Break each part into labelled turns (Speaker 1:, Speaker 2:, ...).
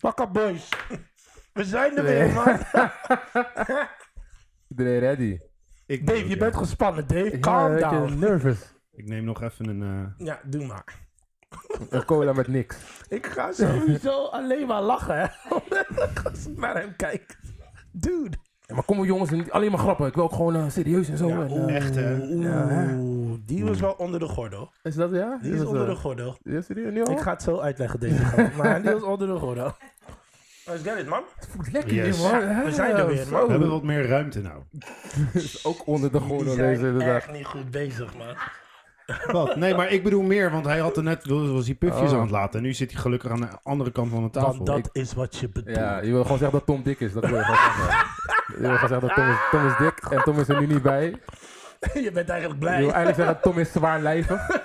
Speaker 1: Pakka boys. We zijn er
Speaker 2: Nee.
Speaker 1: weer, man.
Speaker 2: Iedereen ready?
Speaker 3: Ik
Speaker 1: Dave, je bent gespannen, Dave. Calm
Speaker 2: Ja, ik eh,
Speaker 1: down.
Speaker 2: ben nervous.
Speaker 3: Ik neem nog even een... eh,
Speaker 1: Ja, doe maar.
Speaker 2: Een cola met niks.
Speaker 1: Ik ga sowieso alleen maar lachen, hè. Als ik naar hem kijk. Dude.
Speaker 2: Ja, maar kom op jongens, niet alleen maar grappen. Ik wil ook gewoon eh, serieus en zo.
Speaker 3: Ja,
Speaker 2: en,
Speaker 3: oeh,
Speaker 1: oh.
Speaker 2: eh,
Speaker 3: echt, hè?
Speaker 2: Ja, hè? Mm.
Speaker 1: Oeh, die was wel onder de gordel.
Speaker 2: Is dat ja?
Speaker 1: Die is
Speaker 2: dat,
Speaker 1: onder
Speaker 2: eh,
Speaker 1: de gordel.
Speaker 2: Ja, serieus? Nu al?
Speaker 1: Ik ga het zo uitleggen, deze gast. Maar die was onder de gordel. Let's get it, man.
Speaker 2: Het voelt lekker
Speaker 3: Yes.
Speaker 2: hier, man.
Speaker 1: we zijn er weer,
Speaker 2: zo.
Speaker 1: man.
Speaker 3: We hebben wat meer ruimte nou.
Speaker 2: Ook onder de
Speaker 1: Die
Speaker 2: gordel
Speaker 1: zijn
Speaker 2: deze inderdaad.
Speaker 1: echt niet goed bezig, man.
Speaker 3: Wat? Nee, maar ik bedoel meer, want hij had er net was hij pufjes
Speaker 2: Oh.
Speaker 3: aan het laten. En nu zit hij gelukkig aan de andere kant van de tafel.
Speaker 1: Want dat is wat je bedoelt.
Speaker 2: Ja, je wil gewoon zeggen dat Tom dik is. Dat wil je gewoon zeggen. Je wil gewoon zeggen dat Tom is, Tom is dik en Tom is er nu niet bij.
Speaker 1: je bent eigenlijk
Speaker 2: Je wil
Speaker 1: blij.
Speaker 2: eigenlijk zeggen dat Tom is zwaarlijvig.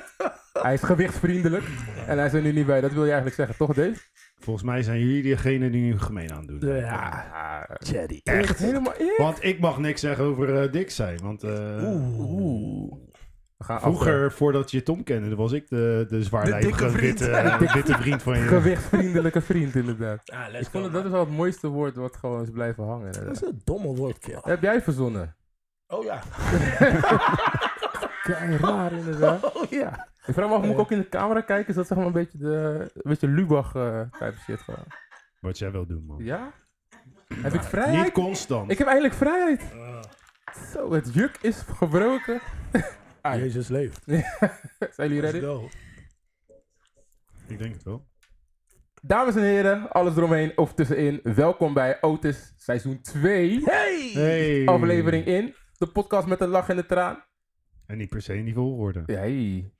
Speaker 2: Hij is gewichtsvriendelijk en hij is er nu niet bij. Dat wil je eigenlijk zeggen, toch Dave?
Speaker 3: Volgens mij zijn jullie degene die nu gemeen aan het doen.
Speaker 1: Ja,
Speaker 2: Ah,
Speaker 1: Jerry.
Speaker 3: Echt.
Speaker 2: Helemaal eerlijk.
Speaker 3: Want ik mag niks zeggen over eh, dik zijn. Want eh,
Speaker 2: Oeh. We gaan
Speaker 3: vroeger, voordat je Tom kende, was ik de, de zwaarlijvige
Speaker 1: dikke vriend.
Speaker 3: witte, eh, witte vriend van
Speaker 2: af.
Speaker 3: je.
Speaker 2: Gewichtsvriendelijke vriend, inderdaad.
Speaker 1: Ah, let's go,
Speaker 2: Ik vond
Speaker 1: man.
Speaker 2: het, dat is wel het mooiste woord wat gewoon is blijven hangen.
Speaker 1: Dat is
Speaker 2: inderdaad.
Speaker 1: een domme woordkeel.
Speaker 2: Heb jij verzonnen?
Speaker 1: Oh ja.
Speaker 2: Kei raar, inderdaad.
Speaker 1: Oh ja.
Speaker 2: Ik vraag me af, moet ik ook in de camera kijken? Is dat zeg maar een beetje, de, een beetje Lubach eh, type shit gewoon?
Speaker 3: Wat jij wil doen, man.
Speaker 2: Ja? Heb ik
Speaker 3: Niet
Speaker 2: vrijheid?
Speaker 3: constant.
Speaker 2: Ik heb eindelijk vrijheid.
Speaker 1: Ah.
Speaker 2: Zo, het juk is gebroken. Ah.
Speaker 1: Jezus leeft.
Speaker 2: Zijn jullie
Speaker 1: Let's
Speaker 2: ready?
Speaker 1: go.
Speaker 3: Ik denk het wel.
Speaker 2: Dames en heren, alles eromheen of tussenin. Welkom bij Otis seizoen 2,
Speaker 1: Hey!
Speaker 3: Hey.
Speaker 2: aflevering in. De podcast met de lach en de traan.
Speaker 3: En niet per se in die volgorde.
Speaker 2: Ja, hey.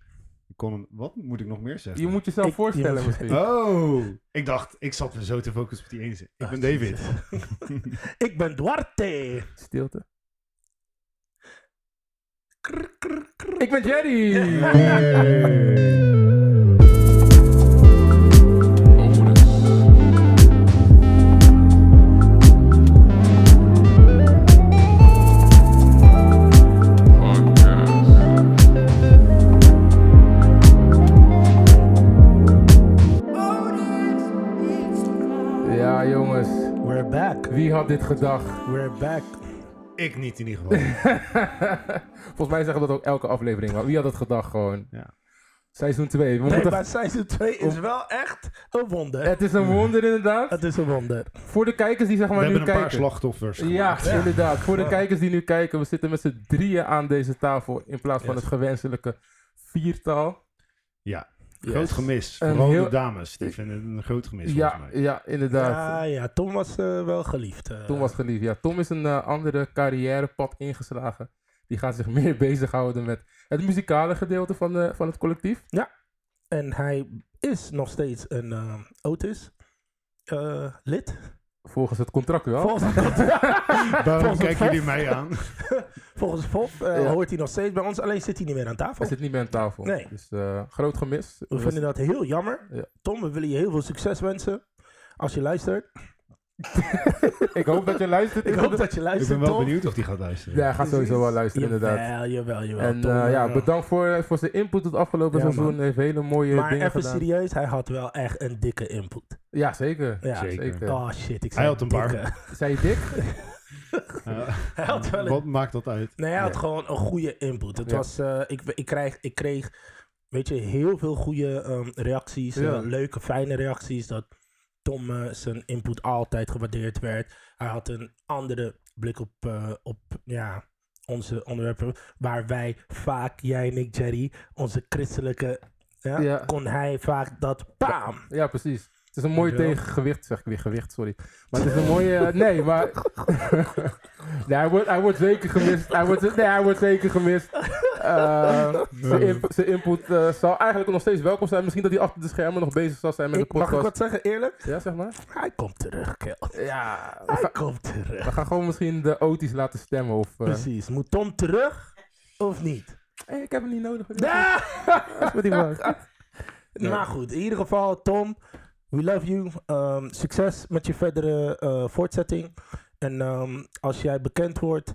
Speaker 3: Ik kon hem, wat moet ik nog meer zeggen?
Speaker 2: Je moet jezelf
Speaker 1: Ik-
Speaker 2: voorstellen
Speaker 1: je moet-
Speaker 2: misschien.
Speaker 3: Oh, ik dacht, ik zat me zo te focussen op die ene. zin. Ik
Speaker 1: Ah,
Speaker 3: ben David.
Speaker 1: Ik ben Duarte.
Speaker 2: Stilte.
Speaker 1: Krr, krr, krr.
Speaker 2: Ik ben Jerry. Ja, jongens.
Speaker 1: We're back.
Speaker 2: Wie had dit gedacht?
Speaker 1: We're back.
Speaker 3: Ik niet in ieder geval.
Speaker 2: Volgens mij zeggen we dat ook elke aflevering. Maar wie had het gedacht gewoon?
Speaker 3: Ja.
Speaker 2: Seizoen 2. We
Speaker 1: Nee,
Speaker 2: moeten...
Speaker 1: maar seizoen 2 is wel echt een wonder.
Speaker 2: Het is een wonder inderdaad.
Speaker 1: Het is een wonder.
Speaker 2: Voor de kijkers die zeg
Speaker 3: We
Speaker 2: maar
Speaker 3: hebben
Speaker 2: nu
Speaker 3: een
Speaker 2: kijken.
Speaker 3: paar slachtoffers.
Speaker 2: Ja, inderdaad. Voor de kijkers die nu kijken, we zitten met z'n drieën aan deze tafel in plaats van
Speaker 1: Yes.
Speaker 2: het gewenselijke viertal.
Speaker 3: Ja.
Speaker 2: Yes.
Speaker 3: Groot gemis.
Speaker 2: Een
Speaker 3: Vooral
Speaker 2: heel-
Speaker 3: de dames. Die vinden het een groot gemis
Speaker 2: Ja,
Speaker 3: volgens mij.
Speaker 2: ja, inderdaad.
Speaker 1: Ja, ja, Tom was eh, wel geliefd. eh.
Speaker 2: Tom was geliefd. Ja, Tom is een eh, andere carrièrepad ingeslagen. Die gaat zich meer bezighouden met het muzikale gedeelte van, eh, van het collectief.
Speaker 1: En hij is nog steeds een eh, Otis eh, lid.
Speaker 2: Volgens het contract wel.
Speaker 1: Volgens,
Speaker 3: Waarom
Speaker 1: Volgens het
Speaker 3: kijken jullie mij aan?
Speaker 1: volgens Fof eh,
Speaker 2: Ja.
Speaker 1: hoort hij nog steeds bij ons, alleen zit hij niet meer aan tafel.
Speaker 2: Hij zit niet meer aan tafel.
Speaker 1: Nee.
Speaker 2: Dus eh, groot gemis.
Speaker 1: We
Speaker 2: Dus-
Speaker 1: vinden dat heel jammer.
Speaker 2: Ja.
Speaker 1: Tom, we willen je heel veel succes wensen. Als je luistert.
Speaker 2: Ik hoop dat je luistert.
Speaker 1: Ik hoop dat je
Speaker 3: Ik
Speaker 1: luistert,
Speaker 3: ben wel
Speaker 1: Tom.
Speaker 3: benieuwd of die gaat luisteren.
Speaker 2: Ja, hij gaat sowieso wel luisteren inderdaad.
Speaker 1: Jawel, jawel, jawel.
Speaker 2: En
Speaker 1: Tom,
Speaker 2: eh, ja,
Speaker 1: eh,
Speaker 2: bedankt voor, voor zijn input het afgelopen
Speaker 1: Ja,
Speaker 2: seizoen. Hij heeft hele mooie
Speaker 1: Maar
Speaker 2: dingen
Speaker 1: even
Speaker 2: gedaan.
Speaker 1: serieus, hij had wel echt een dikke input.
Speaker 2: Ja, zeker.
Speaker 1: Ja.
Speaker 3: Zeker.
Speaker 2: zeker.
Speaker 1: Oh shit, ik zei
Speaker 3: Hij had een bar.
Speaker 1: dikke.
Speaker 2: Zei je dik?
Speaker 3: Eh,
Speaker 1: Hij had wel een
Speaker 3: wat maakt dat uit?
Speaker 1: Nee, hij had
Speaker 2: Nee.
Speaker 1: Nou gewoon een goede input. Het
Speaker 2: Ja.
Speaker 1: was, eh, ik, ik, krijg, ik kreeg, weet je, heel veel goede ehm, reacties. eh,
Speaker 2: Ja.
Speaker 1: leuke, fijne reacties. Dat Tom eh, zijn input altijd gewaardeerd werd. Hij had een andere blik op, eh, op ja, onze onderwerpen. Waar wij vaak, jij en ik, Jerry, onze christelijke... Ja,
Speaker 2: Ja.
Speaker 1: Kon hij vaak dat... Bam!
Speaker 2: Ja, precies. Het is een mooi
Speaker 1: Dankjewel.
Speaker 2: tegengewicht, zeg ik weer gewicht, sorry. Maar het is een mooie... eh, nee, maar... nee, hij wordt, hij wordt zeker gemist. Hij wordt, nee, hij wordt zeker gemist. Eh, zijn, in- zijn input eh, zal eigenlijk nog steeds welkom zijn. Misschien dat hij achter de schermen nog bezig zal zijn met
Speaker 1: Ik,
Speaker 2: de
Speaker 1: mag ik
Speaker 2: podcast.
Speaker 1: wat zeggen, eerlijk?
Speaker 2: Ja, zeg maar.
Speaker 1: Hij komt terug, Kel.
Speaker 2: Ja, we,
Speaker 1: Hij
Speaker 2: ga-
Speaker 1: komt terug.
Speaker 2: we gaan gewoon misschien de Otis laten stemmen. Of, eh,
Speaker 1: Precies. Moet Tom terug of niet?
Speaker 2: hey, ik heb hem niet nodig.
Speaker 1: Ja!
Speaker 2: Dat is wat hij wou.
Speaker 1: Maar Nou goed, in ieder geval, Tom, we love you. Ehm, succes met je verdere eh, voortzetting. En ehm, als jij bekend wordt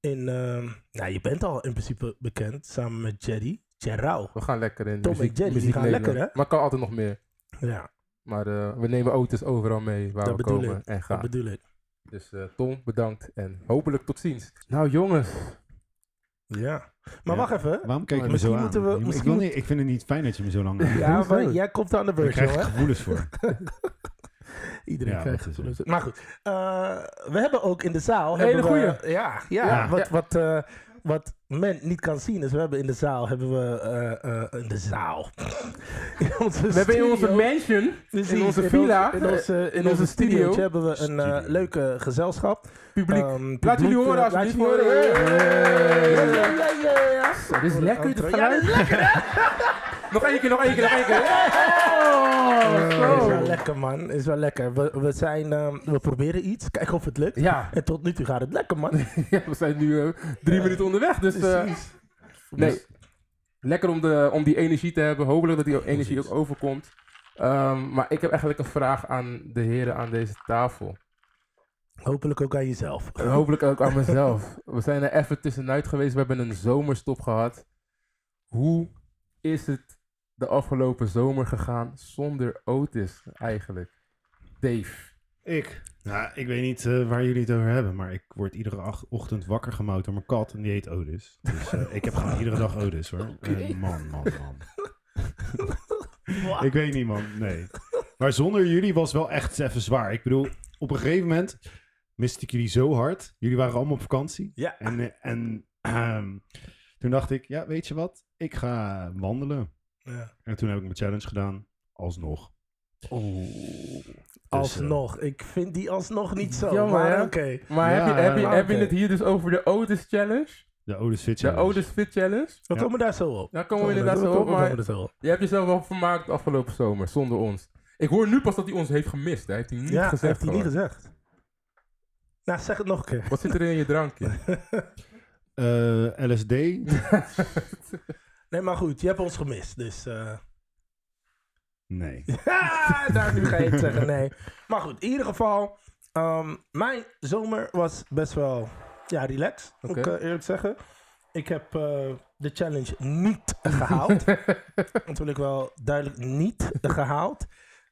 Speaker 1: in. ehm, nou, je bent al in principe bekend samen met Jerry. Jerrouw.
Speaker 2: We gaan lekker in.
Speaker 1: Tom en
Speaker 2: muziek,
Speaker 1: Jerry, die
Speaker 2: muziek
Speaker 1: gaan
Speaker 2: Nederland.
Speaker 1: lekker, hè?
Speaker 2: Maar kan altijd nog meer.
Speaker 1: Ja.
Speaker 2: Maar eh, we nemen auto's overal mee waar
Speaker 1: Dat
Speaker 2: we
Speaker 1: bedoel
Speaker 2: komen
Speaker 1: ik.
Speaker 2: en
Speaker 1: Dat
Speaker 2: gaan.
Speaker 1: bedoel ik.
Speaker 2: Dus eh, Tom, bedankt en hopelijk tot ziens. Nou jongens,
Speaker 1: Ja. Maar
Speaker 3: Ja.
Speaker 1: wacht even.
Speaker 3: Waarom kijk je me
Speaker 1: Misschien
Speaker 3: zo aan?
Speaker 1: moeten we-
Speaker 3: Je moet- ik,
Speaker 1: misschien
Speaker 3: wil niet, ik vind het niet fijn dat je me zo lang aan.
Speaker 1: Ja,
Speaker 2: hoezo?
Speaker 1: maar jij komt aan de
Speaker 3: Daar
Speaker 1: beurt,
Speaker 3: krijg ik
Speaker 1: jongen.
Speaker 3: gevoelens voor.
Speaker 1: Iedereen
Speaker 3: Ja,
Speaker 1: krijgt
Speaker 3: dat is
Speaker 1: gevoelens. Maar goed, eh, we hebben ook in de zaal...
Speaker 2: Hele
Speaker 1: hebben we-
Speaker 2: goeie.
Speaker 1: Ja, ja,
Speaker 3: Ja.
Speaker 1: wat, wat, eh, wat men niet kan zien is, we hebben in de zaal... Hebben we, eh, eh, in de zaal. in onze
Speaker 2: we hebben in onze
Speaker 1: studio-
Speaker 2: mansion,
Speaker 1: Precies,
Speaker 2: in onze villa,
Speaker 1: In onze, in onze,
Speaker 2: in onze
Speaker 1: studio
Speaker 2: studio.
Speaker 1: hebben we een eh,
Speaker 3: Studio.
Speaker 1: leuke gezelschap.
Speaker 2: publiek.
Speaker 1: Ehm,
Speaker 2: Laat
Speaker 1: publiek,
Speaker 2: jullie
Speaker 1: eh,
Speaker 2: horen
Speaker 1: laat
Speaker 2: alsjeblieft.
Speaker 1: jullie horen. Ja, ja,
Speaker 2: Hey.
Speaker 1: ja, ja, ja.
Speaker 2: Zo, Dit is lekker, dit
Speaker 1: Ja,
Speaker 2: geluid.
Speaker 1: dit is lekker.
Speaker 2: Nog één keer, nog één keer, nog één keer. Oh,
Speaker 1: Is
Speaker 2: zo.
Speaker 1: wel lekker, man. Is wel lekker. We, we, zijn, ehm, we proberen iets. Kijken of het lukt.
Speaker 2: Ja,
Speaker 1: En tot nu toe gaat het lekker, man.
Speaker 2: Ja, we zijn nu eh, drie minuten onderweg, dus... eh, nee, lekker om, de, om die energie te hebben. Hopelijk dat die energie ook overkomt. Ehm, maar ik heb eigenlijk een vraag aan de heren aan deze tafel.
Speaker 1: Hopelijk ook aan jezelf.
Speaker 2: En hopelijk ook aan mezelf. We zijn er even tussenuit geweest. We hebben een zomerstop gehad. Hoe is het de afgelopen zomer gegaan zonder Otis eigenlijk? Dave.
Speaker 3: Ik? Nou, ik weet niet eh, waar jullie het over hebben, maar ik word iedere ach- ochtend wakker gemouwd door mijn kat en die heet Otis. Dus eh, ik heb gewoon iedere dag Otis hoor. Eh, man, man, man. Ik weet niet man, nee. Maar zonder jullie was wel echt even zwaar. Ik bedoel, op een gegeven moment miste ik jullie zo hard. Jullie waren allemaal op vakantie.
Speaker 1: Ja.
Speaker 3: En, eh, en ehm, toen dacht ik, ja weet je wat, ik ga wandelen.
Speaker 1: Ja.
Speaker 3: En toen heb ik mijn challenge gedaan, alsnog. Dus, eh,
Speaker 1: Alsnog. Ik vind die alsnog niet zo.
Speaker 2: Jammer,
Speaker 1: maar
Speaker 2: hè?
Speaker 1: oké.
Speaker 2: Maar heb, je,
Speaker 3: Ja,
Speaker 2: heb, je,
Speaker 3: ja,
Speaker 2: heb je
Speaker 1: oké.
Speaker 2: het hier dus over de Otis Challenge?
Speaker 3: De Otis Fit
Speaker 2: De
Speaker 3: Challenge.
Speaker 2: Otis Fit Challenge?
Speaker 1: We
Speaker 3: Ja.
Speaker 1: komen daar zo op.
Speaker 2: Daar komen we inderdaad zo op,
Speaker 1: We komen
Speaker 2: maar
Speaker 1: er zo op.
Speaker 2: je hebt jezelf wel vermaakt afgelopen zomer, zonder ons. Ik hoor nu pas dat hij ons heeft gemist, hè. heeft hij niet
Speaker 1: Ja,
Speaker 2: gezegd.
Speaker 1: heeft hij niet
Speaker 2: gewoon.
Speaker 1: gezegd. Nou, zeg het nog een keer.
Speaker 2: Wat zit er in je drankje?
Speaker 3: Eh, LSD,
Speaker 1: Nee, maar goed. Je hebt ons gemist, dus... eh,
Speaker 3: Nee.
Speaker 1: Ja, Ah, daar nu ga je het zeggen, nee. Maar goed, in ieder geval, ehm, mijn zomer was best wel ja, relaxed, moet ik
Speaker 2: Oké.
Speaker 1: eh, eerlijk zeggen. Ik heb eh, de challenge niet gehaald. Dat wil ik wel duidelijk niet gehaald.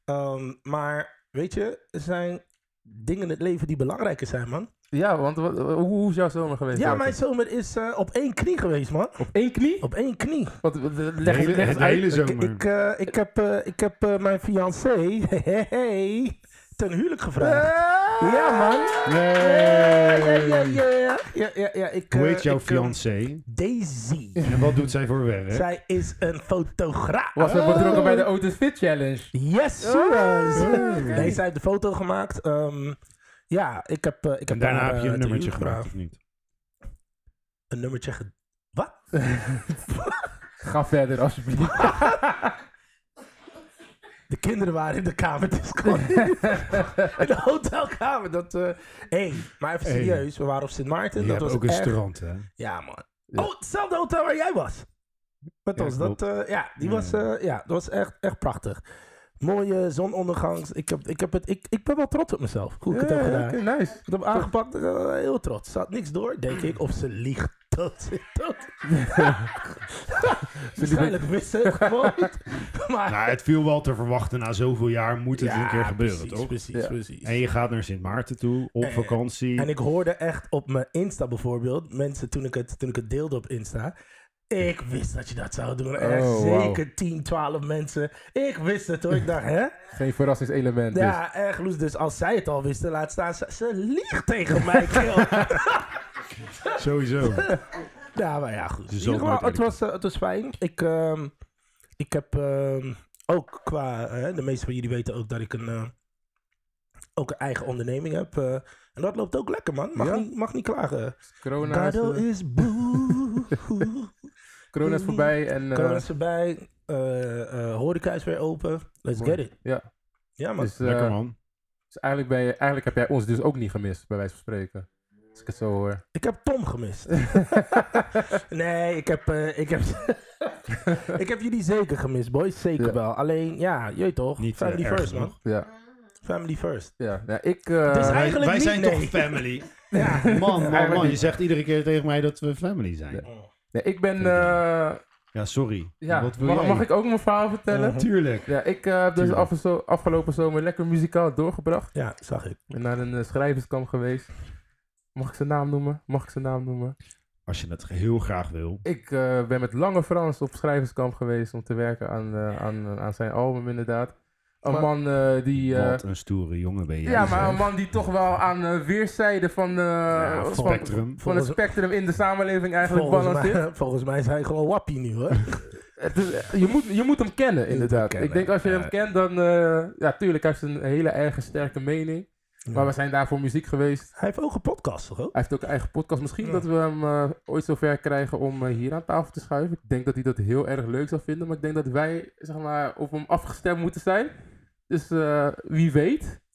Speaker 1: Ehm, maar weet je, er zijn dingen in het leven die belangrijker zijn, man.
Speaker 2: ja, want wat- hoe, hoe is jouw zomer geweest?
Speaker 1: Ja,
Speaker 2: Arthur?
Speaker 1: mijn zomer is eh, op één knie geweest, man.
Speaker 2: Op één knie?
Speaker 1: Op één knie.
Speaker 2: Wat, wat- leg,
Speaker 3: De hele,
Speaker 2: leg eens
Speaker 3: het
Speaker 2: uit.
Speaker 3: hele
Speaker 1: Ik,
Speaker 3: zomer.
Speaker 1: ik, eh, ik heb, eh, ik heb eh, mijn fiancé ten huwelijk gevraagd. Ja, man. Ja, ja, ja,
Speaker 3: nee.
Speaker 1: ja, ja, ja, ja, ik,
Speaker 3: Hoe
Speaker 1: eh,
Speaker 3: heet jouw
Speaker 1: ik, eh,
Speaker 3: fiancé?
Speaker 1: Daisy.
Speaker 3: En wat doet zij voor werk?
Speaker 1: Zij is een fotograaf.
Speaker 2: Was er betrokken bij de Otis Fit Challenge?
Speaker 1: Yes, sir.
Speaker 3: Ah,
Speaker 1: Nee, zij heeft de foto gemaakt. Ehm, ja, ik heb, eh, ik heb
Speaker 3: en daarna
Speaker 1: haar,
Speaker 3: heb je
Speaker 1: eh,
Speaker 3: een
Speaker 1: ten
Speaker 3: nummertje
Speaker 1: huwelijk gevraagd.
Speaker 3: gemaakt, of niet?
Speaker 1: Een nummertje ge-
Speaker 2: Ga verder, alsjeblieft.
Speaker 1: De kinderen waren in de kamer, dus ik kon niet- In de hotelkamer. Dat, eh hey, maar even
Speaker 3: Hey.
Speaker 1: serieus. We waren op Sint Maarten.
Speaker 3: Je
Speaker 1: dat
Speaker 3: hebt
Speaker 1: was
Speaker 3: ook een
Speaker 1: echt-
Speaker 3: strand, hè?
Speaker 1: Ja, man.
Speaker 2: Ja.
Speaker 1: Oh, hetzelfde hotel waar jij was. Met
Speaker 3: Ja,
Speaker 1: ons. Dat, eh, ja, die
Speaker 3: Ja.
Speaker 1: was, eh, ja, dat was echt, echt prachtig. Mooie zonondergangs. Ik, heb, ik, heb het, ik, ik ben wel trots op mezelf. Hoe ik het heb gedaan.
Speaker 2: Eh, Oké, nice.
Speaker 1: Ik heb aangepakt. eh, heel trots. Zat niks door, denk ik. Of ze liegt. Dat ze dat. Waarschijnlijk wist ze het gewoon niet. Maar
Speaker 3: Nou, het viel wel te verwachten. Na zoveel jaar moet het
Speaker 1: Ja,
Speaker 3: een keer gebeuren,
Speaker 1: precies,
Speaker 3: toch?
Speaker 1: Precies,
Speaker 2: Ja.
Speaker 1: precies.
Speaker 3: En je gaat naar Sint Maarten toe, op
Speaker 1: En-
Speaker 3: vakantie.
Speaker 1: En ik hoorde echt op mijn Insta bijvoorbeeld, mensen toen ik het, toen ik het deelde op Insta. Ik wist dat je dat zou doen. Echt
Speaker 2: Oh, wauw.
Speaker 1: zeker 10, 12 mensen. Ik wist het hoor. Ik dacht, hè?
Speaker 2: Geen verrassingselement dus.
Speaker 1: Ja, echt loes. Dus als zij het al wisten, laat staan. Ze, ze liegt tegen mij, kill.
Speaker 3: Sowieso.
Speaker 1: ja, maar ja, goed.
Speaker 3: Ze
Speaker 1: In
Speaker 3: zal
Speaker 1: ieder geval,
Speaker 3: nooit
Speaker 1: het, was, eh, het was fijn. Ik, ehm, ik heb ehm, ook qua... eh, de meeste van jullie weten ook dat ik een... eh, ook een eigen onderneming heb. eh, en dat loopt ook lekker, man. Mag,
Speaker 2: Ja?
Speaker 1: niet, mag niet klagen.
Speaker 2: Corona is,
Speaker 1: Gado
Speaker 2: eh,
Speaker 1: is boe.
Speaker 2: corona is voorbij en... eh,
Speaker 1: Corona is voorbij. Eh, eh, horeca is weer open. Let's
Speaker 2: mooi.
Speaker 1: get it.
Speaker 2: Ja,
Speaker 1: Ja, man.
Speaker 2: dus, eh,
Speaker 3: Lekker, man.
Speaker 2: dus eigenlijk, ben je, eigenlijk heb jij ons dus ook niet gemist, bij wijze van spreken. Als ik het zo hoor.
Speaker 1: Ik heb Tom gemist. nee, ik heb, eh, ik, heb ik heb jullie zeker gemist, boys. Zeker
Speaker 2: Ja.
Speaker 1: wel. Alleen, ja, je weet toch.
Speaker 3: Niet
Speaker 1: family
Speaker 3: eh, erg
Speaker 1: first, man.
Speaker 3: genoeg.
Speaker 2: Ja,
Speaker 1: Family first.
Speaker 2: ja. ja ik... eh,
Speaker 1: Dus
Speaker 3: Wij,
Speaker 1: Eigenlijk
Speaker 3: wij
Speaker 1: niet,
Speaker 3: zijn
Speaker 1: nee.
Speaker 3: toch family?
Speaker 1: Ja.
Speaker 3: Man, man, man.
Speaker 2: Eigenlijk
Speaker 3: Je zegt iedere keer tegen mij dat we family zijn.
Speaker 2: Ja. Nee, ik ben
Speaker 3: Vind ik
Speaker 2: eh,
Speaker 3: Ja, sorry.
Speaker 2: Ja,
Speaker 3: Wat wil
Speaker 2: mag,
Speaker 3: jij?
Speaker 2: mag ik ook mijn verhaal vertellen?
Speaker 1: Mhm.
Speaker 3: Tuurlijk.
Speaker 2: Ja, ik eh, heb dus
Speaker 3: Tuurlijk.
Speaker 2: af zo- afgelopen zomer lekker muzikaal doorgebracht.
Speaker 1: Ja, zag ik.
Speaker 2: Ik ben naar een eh, schrijverskamp geweest. Mag ik zijn naam noemen? Mag ik zijn naam noemen?
Speaker 3: Als je dat heel graag wil.
Speaker 2: Ik eh, ben met Lange Frans op schrijverskamp geweest om te werken aan, eh, aan, aan zijn album inderdaad. Een
Speaker 1: Maar-
Speaker 2: man eh, die... eh,
Speaker 3: Wat een stoere jongen ben je.
Speaker 2: ja, maar een man die toch wel aan eh, weerszijden van, eh, van,
Speaker 1: vol-
Speaker 3: spectrum.
Speaker 2: van het
Speaker 1: Volgens-
Speaker 2: spectrum in de samenleving eigenlijk
Speaker 1: Volgens
Speaker 2: balanceert.
Speaker 1: mij, volgens mij is hij gewoon wappie nu hoor.
Speaker 2: Het is- eh, je, moet, je moet hem kennen inderdaad.
Speaker 3: kennen,
Speaker 2: Ik denk als je
Speaker 3: ja.
Speaker 2: hem kent dan... eh, ja, tuurlijk, hij heeft een hele eigen sterke mening. Maar we
Speaker 1: Ja.
Speaker 2: zijn daar voor muziek geweest.
Speaker 1: Hij heeft ook een podcast toch ook?
Speaker 2: Hij heeft ook een eigen podcast. Misschien
Speaker 1: Ja.
Speaker 2: dat we hem eh, ooit zover krijgen om eh, hier aan tafel te schuiven. Ik denk dat hij dat heel erg leuk zou vinden. Maar ik denk dat wij zeg maar, op hem afgestemd moeten zijn. Dus eh, wie weet.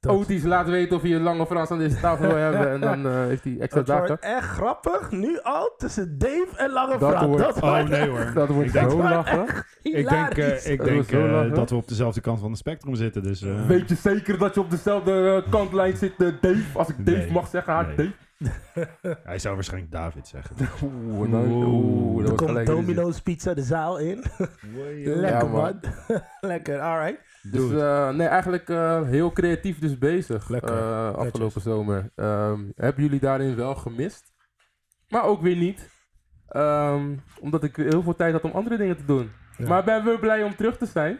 Speaker 1: Dat-
Speaker 2: Otis laat weten of hij een lange Frans aan deze tafel wil hebben. En dan eh, heeft hij extra
Speaker 1: Het wordt
Speaker 2: data.
Speaker 1: echt grappig, nu al, tussen Dave en Lange
Speaker 2: Dat
Speaker 1: Frans.
Speaker 2: wordt-
Speaker 1: Dat
Speaker 3: Oh
Speaker 1: wordt
Speaker 3: nee hoor.
Speaker 2: Dat wordt
Speaker 3: Ik denk-
Speaker 2: zo lachen.
Speaker 3: Ik denk, eh,
Speaker 1: hilarisch.
Speaker 2: Dat
Speaker 3: ik
Speaker 2: we
Speaker 3: denk
Speaker 2: zo
Speaker 3: eh,
Speaker 2: lachen.
Speaker 3: dat we op dezelfde kant van het spectrum zitten. Dus, eh,
Speaker 2: Weet je zeker dat je op dezelfde eh, kantlijn zit, eh, Dave? Als ik Dave
Speaker 3: Nee.
Speaker 2: mag zeggen, haar
Speaker 3: Nee.
Speaker 2: Dave.
Speaker 3: Hij zou waarschijnlijk David zeggen.
Speaker 2: Oeh,
Speaker 3: nou- oeh, dat
Speaker 1: Er komt Domino's Pizza de zaal in. Lekker man.
Speaker 2: man.
Speaker 1: Lekker, alright.
Speaker 2: Dus
Speaker 3: Doe het.
Speaker 2: eh, nee, eigenlijk eh, heel creatief dus bezig
Speaker 1: Lekker.
Speaker 2: eh, afgelopen zomer. Ehm, hebben jullie daarin wel gemist? Maar ook weer niet. Ehm, omdat ik heel veel tijd had om andere dingen te doen.
Speaker 1: Ja.
Speaker 2: Maar ben weer blij om terug te zijn.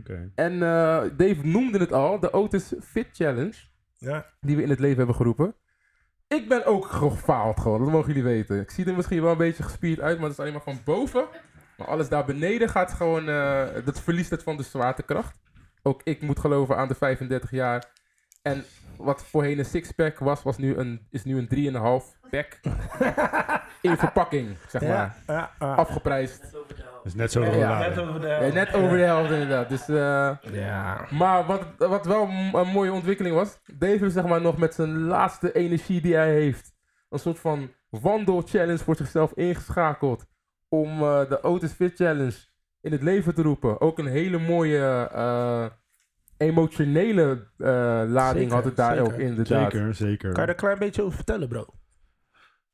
Speaker 3: Oké.
Speaker 2: En eh, Dave noemde het al, de Otis Fit Challenge.
Speaker 1: Ja.
Speaker 2: Die we in het leven hebben geroepen. Ik ben ook gefaald gewoon, dat mogen jullie weten. Ik zie er misschien wel een beetje gespierd uit, maar dat is alleen maar van boven. Maar alles daar beneden gaat gewoon, eh, dat verliest het van de zwaartekracht. Ook ik moet geloven aan de 35 jaar. En wat voorheen een sixpack was, was nu een, is nu een 3,5 pack. in verpakking, zeg maar.
Speaker 1: Ja, ja, ja.
Speaker 2: Afgeprijsd.
Speaker 3: Dat is net zo
Speaker 2: Ja,
Speaker 3: ja,
Speaker 4: Net over de
Speaker 2: Ja,
Speaker 4: helft.
Speaker 2: net over de helft inderdaad. Dus eh, maar wat, wat wel m- een mooie ontwikkeling was, Dave heeft zeg maar nog met zijn laatste energie die hij heeft, een soort van wandel-challenge voor zichzelf ingeschakeld om eh, de Otis Fit Challenge in het leven te roepen. Ook een hele mooie eh, emotionele eh, lading
Speaker 1: Zeker,
Speaker 2: had het daar
Speaker 1: zeker.
Speaker 2: ook inderdaad.
Speaker 3: Zeker, zeker.
Speaker 1: Kan je er een klein beetje over vertellen, bro?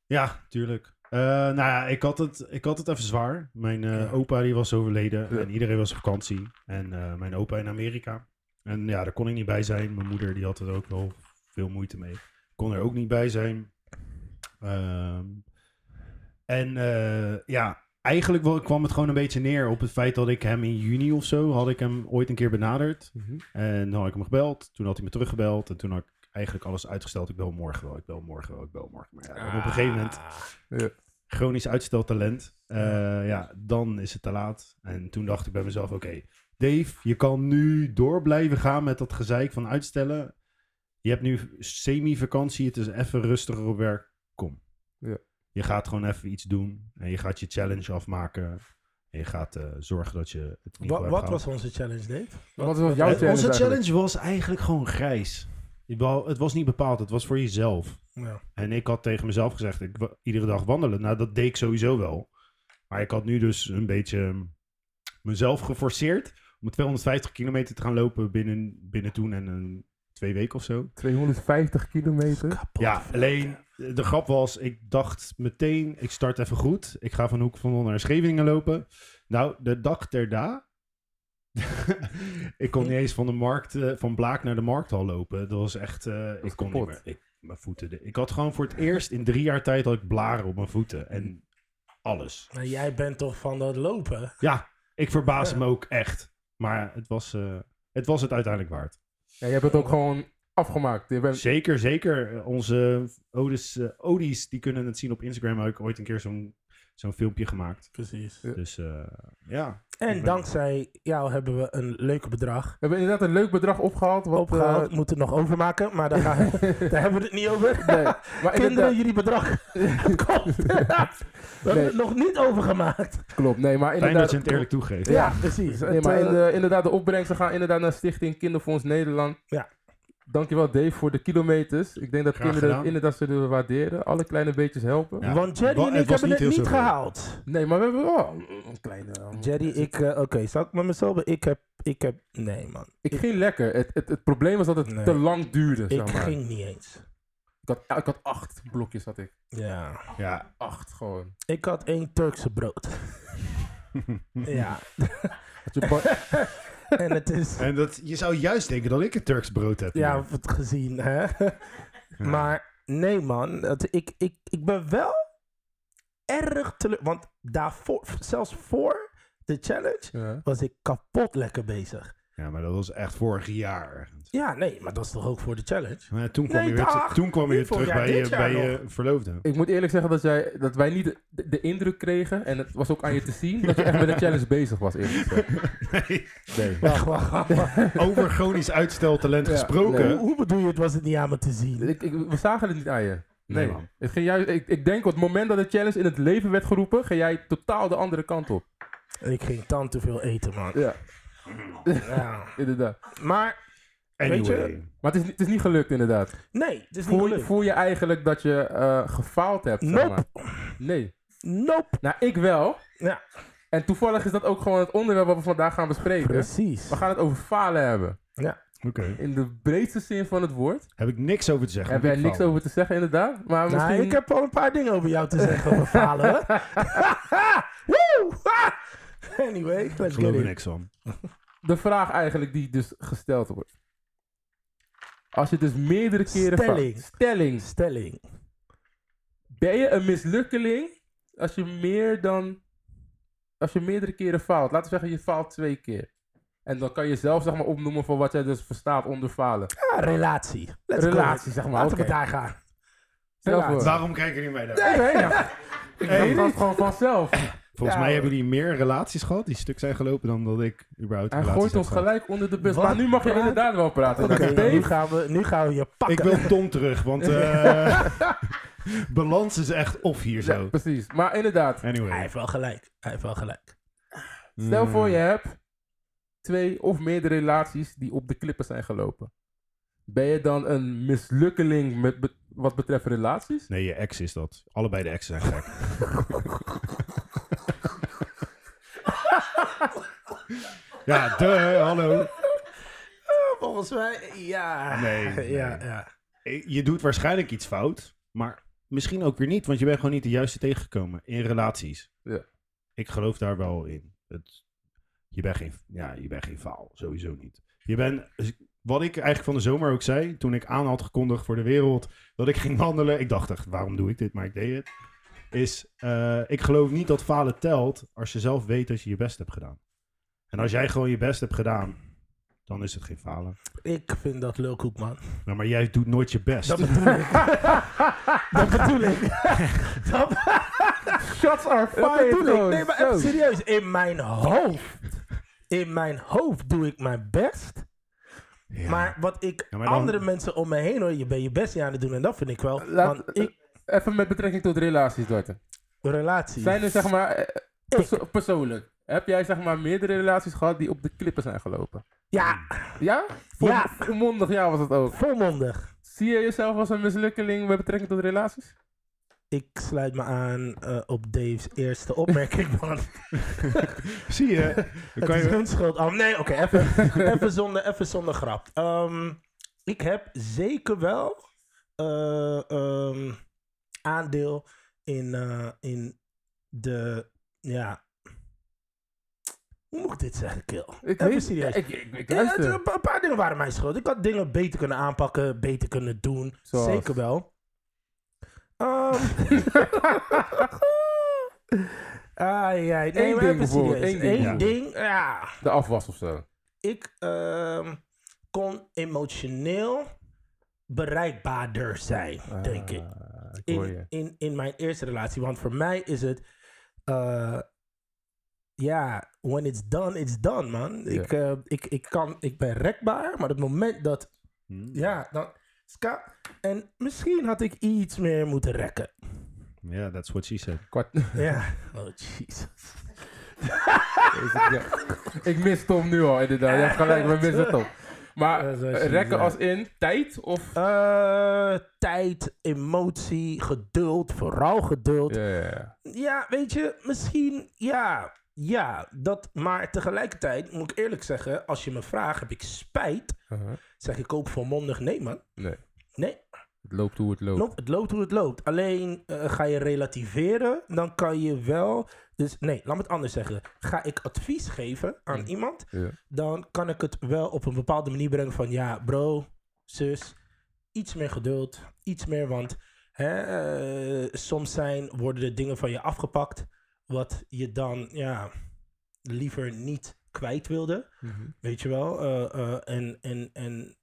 Speaker 3: Ja, tuurlijk. Eh, nou ja, ik had, het, ik had het even zwaar. Mijn eh,
Speaker 1: Ja.
Speaker 3: opa die was overleden
Speaker 2: Ja.
Speaker 3: en iedereen was op vakantie. En eh, mijn opa in Amerika. En ja, daar kon ik niet bij zijn. Mijn moeder die had er ook wel veel moeite mee. Kon er ook niet bij zijn. Ehm, en eh, ja, eigenlijk wel- kwam het gewoon een beetje neer op het feit dat ik hem in juni of zo... had ik hem ooit een keer benaderd. En dan had ik hem gebeld. Toen had hij me teruggebeld. En toen had ik eigenlijk alles uitgesteld. Ik bel morgen wel, ik bel morgen wel, ik bel morgen. Maar ja, op een gegeven moment... Chronisch uitsteltalent. Eh, ja, dan is het te laat. En toen dacht ik bij mezelf: oké, Dave, je kan nu door blijven gaan met dat gezeik van uitstellen. Je hebt nu semi-vakantie, het is even rustiger op werk. Kom.
Speaker 2: Ja.
Speaker 3: Je gaat gewoon even iets doen en je gaat je challenge afmaken. En je gaat eh, zorgen dat je het niet
Speaker 1: Wa-
Speaker 3: hebt
Speaker 1: wat
Speaker 3: gehaald.
Speaker 1: was onze challenge, Dave?
Speaker 2: Wat was jouw
Speaker 3: Eh,
Speaker 2: challenge?
Speaker 3: Onze
Speaker 2: eigenlijk?
Speaker 3: challenge was eigenlijk gewoon grijs. Ik wou- Het was niet bepaald, het was voor jezelf.
Speaker 1: Ja.
Speaker 3: En ik had tegen mezelf gezegd, ik wa- iedere dag wandelen. Nou, dat deed ik sowieso wel. Maar ik had nu dus een beetje mm, mezelf geforceerd om 250 kilometer te gaan lopen binnen, binnen toen en een, twee weken of zo.
Speaker 2: 250 kilometer.
Speaker 3: Ja, alleen de grap was, ik dacht meteen, ik start even goed. Ik ga van Hoek van Holland naar Scheveningen lopen. Nou, de dag terda. ik kon niet eens van de markt, eh, van Blaak naar de markthal lopen. Dat was echt, eh, ik kon niet
Speaker 2: kapot.
Speaker 3: meer. Ik, mijn voeten, de- ik had gewoon voor het eerst in drie jaar tijd had ik blaren op mijn voeten en alles.
Speaker 1: Maar jij bent toch van dat lopen?
Speaker 3: Ja, ik verbaas
Speaker 1: Ja.
Speaker 3: me ook echt. Maar het was, eh, het was het uiteindelijk waard.
Speaker 2: Ja, je hebt het ook gewoon afgemaakt. Je bent,
Speaker 3: Zeker, zeker. eh, Onze Odis, eh, Odies, die kunnen het zien op Instagram. Heb ik ooit een keer zo'n zo'n filmpje gemaakt.
Speaker 1: Precies.
Speaker 3: Dus eh, ja.
Speaker 1: En dankzij jou hebben we een leuke bedrag
Speaker 2: we hebben inderdaad een leuk bedrag opgehaald. Wat,
Speaker 3: eh.
Speaker 1: opgehaald. Moeten we het nog overmaken, maar daar, gaan we-
Speaker 2: eh,
Speaker 1: daar hebben we het niet over.
Speaker 2: nee, maar inderdaad-
Speaker 1: Kinderen, jullie bedrag. Het komt. We hebben
Speaker 2: Nee.
Speaker 1: het nog niet overgemaakt.
Speaker 2: Klopt, nee, maar
Speaker 3: Fijn dat
Speaker 2: inderdaad...
Speaker 3: je het eerlijk toegeeft.
Speaker 1: Ja,
Speaker 2: Ja,
Speaker 1: precies.
Speaker 2: Nee,
Speaker 1: Het,
Speaker 2: maar
Speaker 1: eh,
Speaker 2: in de- inderdaad, de opbrengsten gaan inderdaad naar Stichting Kinderfonds Nederland.
Speaker 1: Ja.
Speaker 2: Dankjewel Dave voor de kilometers. Ik denk dat
Speaker 3: Graag
Speaker 2: kinderen
Speaker 3: gedaan.
Speaker 2: het inderdaad zullen waarderen. Alle kleine beetjes helpen.
Speaker 3: Ja.
Speaker 1: Want Jerry
Speaker 3: Wa-
Speaker 1: en
Speaker 3: het
Speaker 1: ik
Speaker 3: was
Speaker 1: hebben
Speaker 3: niet
Speaker 1: het
Speaker 3: heel
Speaker 1: niet
Speaker 3: zoveel.
Speaker 1: gehaald.
Speaker 2: Nee, maar we hebben wel een kleine...
Speaker 1: Jerry, ik... eh, Oké, zal ik met mezelf... Ik heb... Ik heb... Nee, man.
Speaker 2: Ik ging lekker. Het, het, het probleem was dat het
Speaker 1: Nee.
Speaker 2: te lang duurde,
Speaker 1: Ik
Speaker 2: zeg maar.
Speaker 1: ging niet eens.
Speaker 2: Ik, had, ik had acht blokjes, had ik.
Speaker 1: Ja.
Speaker 3: Ja,
Speaker 2: Acht gewoon.
Speaker 1: Ik had één Turkse brood. Ja.
Speaker 2: Had je ba-
Speaker 1: En het is...
Speaker 3: En dat, je zou juist denken dat ik een Turks brood heb.
Speaker 1: Ja,
Speaker 3: hier.
Speaker 1: of het gezien, hè. Maar nee, man. Het, ik, ik, ik ben wel erg teleur... Want daarvoor, zelfs voor de challenge,
Speaker 2: ja.
Speaker 1: was ik kapot lekker bezig.
Speaker 3: ja, maar dat was echt vorig jaar. ergens.
Speaker 1: Ja, nee, maar dat is toch ook voor de challenge?
Speaker 3: Maar toen kwam
Speaker 1: Nee,
Speaker 3: je weer, te-
Speaker 1: dag.
Speaker 3: toen kwam je
Speaker 1: Niet
Speaker 3: weer terug
Speaker 1: vorig jaar,
Speaker 3: bij, je,
Speaker 1: dit jaar
Speaker 3: bij je verloofde.
Speaker 2: Ik moet eerlijk zeggen dat, jij, dat wij niet de, de indruk kregen, en het was ook aan je te zien, dat je echt met de challenge bezig was. Eerlijk gezegd.
Speaker 3: Nee,
Speaker 2: Nee.
Speaker 1: Wacht, wacht, wacht, wacht.
Speaker 3: Over Gronings uitsteltalent
Speaker 2: Ja,
Speaker 3: gesproken.
Speaker 1: Hoe, hoe bedoel je het was het niet aan me te zien?
Speaker 2: Ik, ik, we zagen het niet aan je.
Speaker 3: Nee,
Speaker 2: Nee,
Speaker 3: man.
Speaker 2: Het ging juist, ik, ik denk op het moment dat de challenge in het leven werd geroepen, ga jij totaal de andere kant op.
Speaker 1: Ik ging dan te veel eten, man.
Speaker 2: Ja,
Speaker 1: Ja.
Speaker 2: inderdaad.
Speaker 1: Maar Weet je-
Speaker 3: Anyway.
Speaker 2: Maar het is, niet- het is niet gelukt, inderdaad.
Speaker 1: nee, het is niet
Speaker 2: Voel, je-
Speaker 1: gelukt.
Speaker 2: voel je eigenlijk dat je eh, gefaald hebt? zeg
Speaker 1: Nope.
Speaker 2: maar? Nee.
Speaker 1: Nope.
Speaker 2: Nou, ik wel.
Speaker 1: Ja,
Speaker 2: En toevallig is dat ook gewoon het onderwerp wat we vandaag gaan bespreken.
Speaker 1: precies.
Speaker 2: We gaan het over falen hebben.
Speaker 3: Oké.
Speaker 2: In de breedste zin van het woord.
Speaker 3: Heb ik niks over te zeggen.
Speaker 2: Hebben wij
Speaker 3: Ik
Speaker 2: niks
Speaker 3: val.
Speaker 2: over te zeggen, inderdaad. Maar misschien...
Speaker 1: Nou, ik heb al een paar dingen over jou te zeggen over falen. hoor. Woe! Ha! Anyway,
Speaker 3: Ik
Speaker 1: let's
Speaker 3: geloof
Speaker 1: get
Speaker 3: er
Speaker 1: it.
Speaker 3: niks van.
Speaker 2: de vraag eigenlijk die dus gesteld wordt. Als je dus meerdere keren... fa-
Speaker 1: Stelling.
Speaker 2: Stelling.
Speaker 1: Stelling.
Speaker 2: Ben je een mislukkeling als je meer dan... Als je meerdere keren faalt. Laten we zeggen, je faalt twee keer. En dan kan je zelf zeg maar opnoemen van wat jij dus verstaat onder falen.
Speaker 1: Ja, relatie. Let's go.
Speaker 2: Relatie, zeg maar,
Speaker 1: Laten we
Speaker 2: oké.
Speaker 1: daar gaan.
Speaker 2: Stel voor.
Speaker 1: Relatie.
Speaker 3: Waarom kijken jullie mij daar?
Speaker 2: Nee, nee, ja. Ik
Speaker 3: Hey.
Speaker 2: weet het gewoon vanzelf.
Speaker 3: Volgens
Speaker 1: Ja,
Speaker 3: mij
Speaker 1: hoor.
Speaker 3: hebben jullie meer relaties gehad die stuk zijn gelopen dan dat ik überhaupt
Speaker 2: Hij
Speaker 3: relaties
Speaker 2: gooit
Speaker 3: heb
Speaker 2: ons
Speaker 3: gehad.
Speaker 2: gelijk onder de bus.
Speaker 1: Wat?
Speaker 2: Maar nu mag je
Speaker 1: Praat?
Speaker 2: inderdaad wel praten.
Speaker 1: Oké,
Speaker 2: Dave.
Speaker 1: nou, nu, gaan we, nu gaan we je pakken.
Speaker 3: Ik wil Tom terug, want eh, balans is echt off hier
Speaker 2: Ja,
Speaker 3: zo.
Speaker 2: precies. Maar inderdaad,
Speaker 1: Hij
Speaker 3: Anyway.
Speaker 1: heeft wel gelijk. Hij heeft wel gelijk.
Speaker 2: stel
Speaker 3: Mm.
Speaker 1: Hmm.
Speaker 2: voor je hebt twee of meerdere relaties die op de klippen zijn gelopen. Ben je dan een mislukkeling met be- wat betreft relaties?
Speaker 3: Nee, je ex is dat. Allebei de exen zijn gek. ja, duh, hallo.
Speaker 1: Oh, Volgens mij, ja.
Speaker 3: Nee, nee.
Speaker 1: Ja, ja.
Speaker 3: Eh, Je doet waarschijnlijk iets fout, maar misschien ook weer niet, want je bent gewoon niet de juiste tegengekomen in relaties.
Speaker 2: Ja.
Speaker 3: Ik geloof daar wel in. Het, je, bent geen, ja, je bent geen faal, sowieso niet. Je bent, eh, wat ik eigenlijk van de zomer ook zei, toen ik aan had gekondigd voor de wereld dat ik ging wandelen. Ik dacht echt, waarom doe ik dit? Maar ik deed het. Is, eh, ik geloof niet dat falen telt als je zelf weet dat je je best hebt gedaan. En als jij gewoon je best hebt gedaan, dan is het geen falen.
Speaker 1: Ik vind dat lulkoek, man.
Speaker 3: Nou, maar jij doet nooit je best.
Speaker 1: Dat bedoel ik. dat bedoel ik. dat,
Speaker 2: Shots are
Speaker 1: dat
Speaker 2: fired.
Speaker 1: bedoel ik.
Speaker 2: gewoon.
Speaker 1: Nee, maar
Speaker 2: Zo.
Speaker 1: even serieus. In mijn hoofd. In mijn hoofd doe ik mijn best.
Speaker 3: Ja.
Speaker 1: Maar wat ik
Speaker 3: Ja, maar dan-
Speaker 1: andere mensen om me heen hoor, je bent je best niet aan het doen. En dat vind ik wel.
Speaker 2: Laat-
Speaker 1: want ik,
Speaker 2: Even met betrekking tot relaties, Dorten.
Speaker 1: relatie.
Speaker 2: Zijn er zeg maar, eh, perso- persoonlijk, heb jij zeg maar meerdere relaties gehad die op de klippen zijn gelopen?
Speaker 1: Ja,
Speaker 2: Ja?
Speaker 1: Ja.
Speaker 2: Volmondig ja was het ook.
Speaker 1: volmondig.
Speaker 2: Zie je jezelf als een mislukkeling met betrekking tot relaties?
Speaker 1: Ik sluit me aan eh, op Dave's eerste opmerking, man.
Speaker 3: Zie je? Dan
Speaker 1: Het
Speaker 3: kan
Speaker 1: is
Speaker 3: je...
Speaker 1: hun schuld. Oh nee, oké, even, even, zonder, even zonder grap. Ehm, ik heb zeker wel eh, ehm, aandeel in, eh, in de, ja... Hoe moet ik dit zeggen, Kill?
Speaker 2: Ik
Speaker 1: Even
Speaker 2: weet-
Speaker 1: serieus.
Speaker 2: Ik, ik, ik
Speaker 1: Ja, het-
Speaker 2: luister.
Speaker 1: een, paar, een paar dingen waren mijn schuld. Ik had dingen beter kunnen aanpakken, beter kunnen doen.
Speaker 2: Zoals?
Speaker 1: Zeker wel. Ehm ah, ja, nee, maar
Speaker 2: Eén ding
Speaker 1: even
Speaker 2: bijvoorbeeld,
Speaker 1: serieus.
Speaker 2: één ding
Speaker 1: Eén ding, ja
Speaker 2: De afwas of zo.
Speaker 1: ik ehm, kon emotioneel bereikbaarder zijn, denk ik.
Speaker 2: Ah, ik hoor
Speaker 1: In,
Speaker 2: je.
Speaker 1: in, in mijn eerste relatie. Want voor mij is het. eh, ja, when it's done, it's done, man.
Speaker 2: Ja.
Speaker 1: Ik, eh, ik, ik, kan, ik ben rekbaar, maar het moment dat.
Speaker 3: Hmm.
Speaker 1: Ja, dan. Ska, en misschien had ik iets meer moeten rekken.
Speaker 3: Ja, that's what she said.
Speaker 2: Kwart-
Speaker 1: Ja. Oh,
Speaker 2: Eh,
Speaker 1: jezus.
Speaker 2: Is het- ja. Ik mis Tom nu al, inderdaad. Je hebt gelijk, we missen Tom. Maar
Speaker 1: Ja, zoals je
Speaker 2: rekken
Speaker 1: zei.
Speaker 2: als in tijd of...
Speaker 1: Eh, tijd, emotie, geduld, vooral geduld.
Speaker 2: Ja, ja, ja.
Speaker 1: Ja, weet je, misschien ja. Ja, dat, maar tegelijkertijd moet ik eerlijk zeggen, als je me vraagt, heb ik spijt?
Speaker 2: Uh-huh.
Speaker 1: Zeg ik ook volmondig nee, man.
Speaker 2: Nee.
Speaker 1: Nee.
Speaker 2: Het loopt hoe het loopt.
Speaker 1: Nope, het loopt hoe het loopt. Alleen eh, ga je relativeren, dan kan je wel. Dus nee, laat me het anders zeggen. Ga ik advies geven aan
Speaker 2: Mm.
Speaker 1: iemand,
Speaker 2: Ja.
Speaker 1: dan kan ik het wel op een bepaalde manier brengen van ja, bro, zus, iets meer geduld, iets meer, want hè, eh, soms zijn, worden er dingen van je afgepakt wat je dan ja, liever niet kwijt wilde. Weet je wel? Eh, eh, en, en, en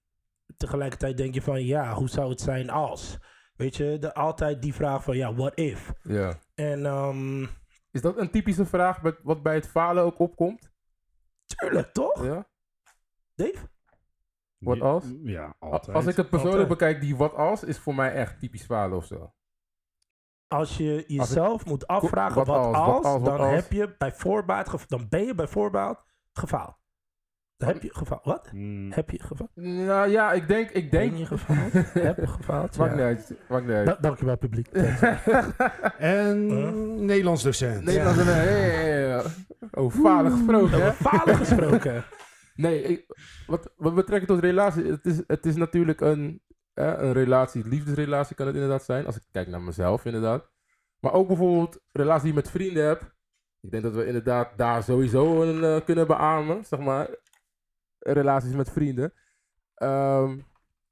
Speaker 1: tegelijkertijd denk je van, ja, hoe zou het zijn als? Weet je, de, altijd die vraag van, ja, what if?
Speaker 2: ja.
Speaker 1: En ehm,
Speaker 2: Is dat een typische vraag met- wat bij het falen ook opkomt?
Speaker 1: tuurlijk, toch?
Speaker 2: Ja.
Speaker 1: Dave?
Speaker 2: Wat
Speaker 3: Ja,
Speaker 2: als?
Speaker 3: Ja,
Speaker 2: A-
Speaker 3: altijd.
Speaker 2: Als ik het persoonlijk
Speaker 1: Altijd.
Speaker 2: bekijk, die wat als is voor mij echt typisch falen of zo.
Speaker 1: Als je jezelf moet afvragen
Speaker 2: wat
Speaker 1: wat,
Speaker 2: als,
Speaker 1: als,
Speaker 2: wat als, wat
Speaker 1: dan
Speaker 2: als?
Speaker 1: heb je bij voorbaat, gev- dan ben je bij voorbaat gefaald. Dan heb je gefaald. Wat?
Speaker 3: Mm,
Speaker 1: Heb je gefaald?
Speaker 2: Nou ja, ik denk... Ik denk
Speaker 1: Ben je gefaald? heb je gefaald?
Speaker 2: Maakt niet
Speaker 1: Ja.
Speaker 2: uit. Maakt niet uit.
Speaker 1: Da- dankjewel, publiek.
Speaker 3: En
Speaker 1: Huh?
Speaker 3: Nederlands docent.
Speaker 2: Nee, dat is een... Hey, hey, hey. Oh, falen gesproken, hè?
Speaker 1: Over falen gesproken.
Speaker 2: Nee, ik- wat, wat betrekking tot relatie, het is, het is natuurlijk een, hè, een relatie, liefdesrelatie kan het inderdaad zijn, als ik kijk naar mezelf inderdaad. Maar ook bijvoorbeeld relatie die ik met vrienden heb. Ik denk dat we inderdaad daar sowieso een, eh, kunnen beamen, zeg maar, relaties met vrienden. Ehm,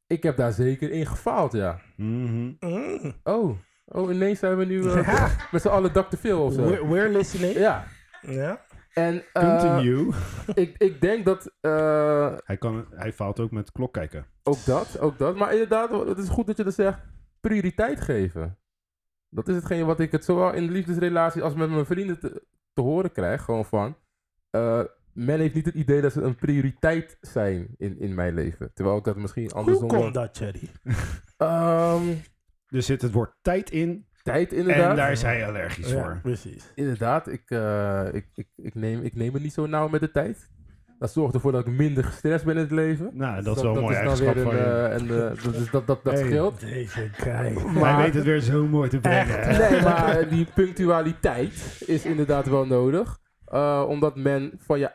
Speaker 2: ik heb daar zeker in gefaald, ja.
Speaker 3: Mhm.
Speaker 1: Mm.
Speaker 2: Oh, oh ineens zijn we nu eh, met z'n allen dak te veel of zo.
Speaker 1: We're, we're listening.
Speaker 2: Ja,
Speaker 1: Ja.
Speaker 2: en eh,
Speaker 3: Continue.
Speaker 2: ik, ik denk dat... eh,
Speaker 3: Hij, kan, hij faalt ook met klok kijken.
Speaker 2: Ook dat, ook dat. Maar inderdaad, het is goed dat je dat zegt. Prioriteit geven. Dat is hetgeen wat ik het zowel in de liefdesrelatie als met mijn vrienden te, te horen krijg. Gewoon van, eh, men heeft niet het idee dat ze een prioriteit zijn in, in mijn leven. Terwijl ik dat misschien
Speaker 1: Hoe
Speaker 2: andersom...
Speaker 1: komt dat, Jerry?
Speaker 2: Ehm,
Speaker 3: Er zit het woord tijd in.
Speaker 2: tijd inderdaad.
Speaker 3: En eh, daar is hij allergisch
Speaker 1: Ja,
Speaker 3: voor.
Speaker 1: precies.
Speaker 2: Inderdaad, ik, eh, ik, ik, ik, neem, ik neem het niet zo nauw met de tijd. Dat zorgt ervoor dat ik minder gestrest ben in het leven.
Speaker 3: Nou, dat is wel een mooie
Speaker 2: dan
Speaker 3: eigenschap
Speaker 2: weer
Speaker 3: van
Speaker 2: een,
Speaker 3: je.
Speaker 2: eh, en, eh, dat, is- dat, dat, dat
Speaker 3: Hey.
Speaker 2: scheelt.
Speaker 1: Deze guy.
Speaker 2: Maar-
Speaker 3: Hij weet het weer zo mooi te brengen. hè?
Speaker 2: Nee, maar die punctualiteit is inderdaad wel nodig. Eh, omdat men van je...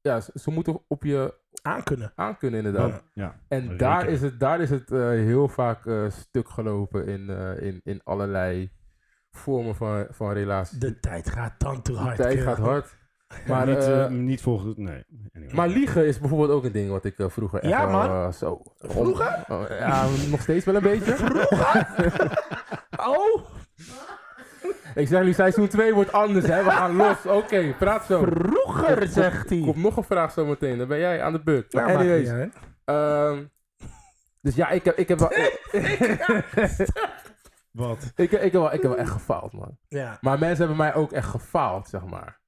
Speaker 2: Ja, ze ze moeten op je
Speaker 1: Aankunnen.
Speaker 2: aankunnen inderdaad.
Speaker 3: Want- ja.
Speaker 2: en
Speaker 3: zeker.
Speaker 2: daar is het, daar is het eh, heel vaak eh, stuk gelopen in, eh, in, in allerlei vormen van, van relatie.
Speaker 1: De tijd gaat dan te
Speaker 2: De
Speaker 1: hard.
Speaker 2: tijd
Speaker 1: kerel.
Speaker 2: gaat hard. Maar,
Speaker 3: niet,
Speaker 2: eh,
Speaker 3: eh, niet volgens... Nee. Anyway.
Speaker 2: maar liegen is bijvoorbeeld ook een ding wat ik eh, vroeger echt
Speaker 1: Ja,
Speaker 2: wel,
Speaker 1: man.
Speaker 2: eh, zo... om-
Speaker 1: Vroeger?
Speaker 2: Oh, ja, nog steeds wel een beetje.
Speaker 1: Oh,
Speaker 2: ik zeg nu, seizoen 2 wordt anders, hè. We gaan los. Oké, praat zo.
Speaker 1: vroeger, zegt hij.
Speaker 2: Er komt nog een vraag zometeen. Dan ben jij aan de beurt.
Speaker 1: Nou,
Speaker 2: Maar
Speaker 1: maakt niet
Speaker 2: anyways,
Speaker 1: uit.
Speaker 2: ehm, dus ja, ik heb, ik, heb wel, ik,
Speaker 3: Wat?
Speaker 2: ik, heb wel, ik heb wel echt gefaald, man.
Speaker 1: ja.
Speaker 2: Maar mensen hebben mij ook echt gefaald, zeg maar.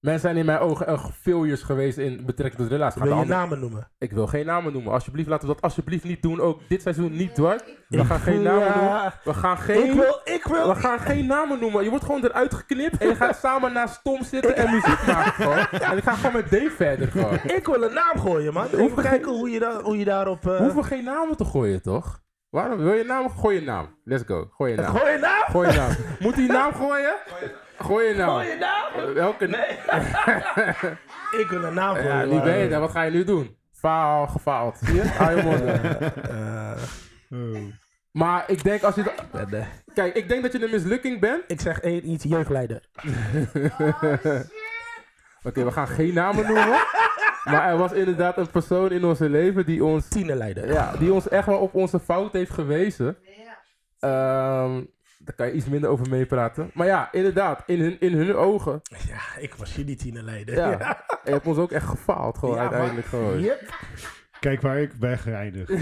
Speaker 2: Mensen zijn in mijn ogen echt failures geweest in betrekking tot relaties. Gaat
Speaker 1: Wil je
Speaker 2: de ander-
Speaker 1: namen noemen?
Speaker 2: Ik wil geen namen noemen. Alsjeblieft, laten we dat alsjeblieft niet doen. Ook dit seizoen niet, hoor. We gaan geen namen noemen.
Speaker 1: Ja,
Speaker 2: We gaan geen...
Speaker 1: Ik wil, ik wil.
Speaker 2: We gaan geen namen noemen. Je wordt gewoon eruit geknipt en je gaat samen naast Tom zitten en muziek maken. Gewoon. En ik ga gewoon met Dave verder. Gewoon.
Speaker 1: Ik wil een naam gooien, man. Even kijken hoe je, da hoe je daarop... eh,
Speaker 2: We hoeven geen namen te gooien, toch? Waarom? Wil je naam? Gooi je naam. Let's go. Gooi je naam.
Speaker 1: Gooi je naam?
Speaker 2: Gooi je naam. Moet die naam gooien? Gooi je naam.
Speaker 1: Gooi je naam?
Speaker 2: Eh, Welke naam?
Speaker 1: Ik wil een naam gooien.
Speaker 2: Ja, nu
Speaker 1: maar-
Speaker 2: ben je daar. Wat ga je nu doen? Faal, gefaald. Zie je? Hou je mond.
Speaker 1: Eh,
Speaker 3: Oh.
Speaker 2: Maar ik denk als je... da- Kijk, ik denk dat je een mislukking bent.
Speaker 1: ik zeg één iets, jeugdleider.
Speaker 2: Oké, we gaan geen namen noemen. Maar er was inderdaad een persoon in onze leven die ons...
Speaker 1: Tienerleider.
Speaker 2: Ja, die ons echt wel op onze fout heeft gewezen. Ehm, daar kan je iets minder over meepraten. Maar ja, inderdaad, in hun, in hun ogen
Speaker 1: Ja, ik was jullie tienerleider.
Speaker 2: Ja. En je hebt ons ook echt gefaald, gewoon
Speaker 1: Ja,
Speaker 2: uiteindelijk gewoon.
Speaker 1: Yep.
Speaker 3: Kijk waar ik ben geëindigd.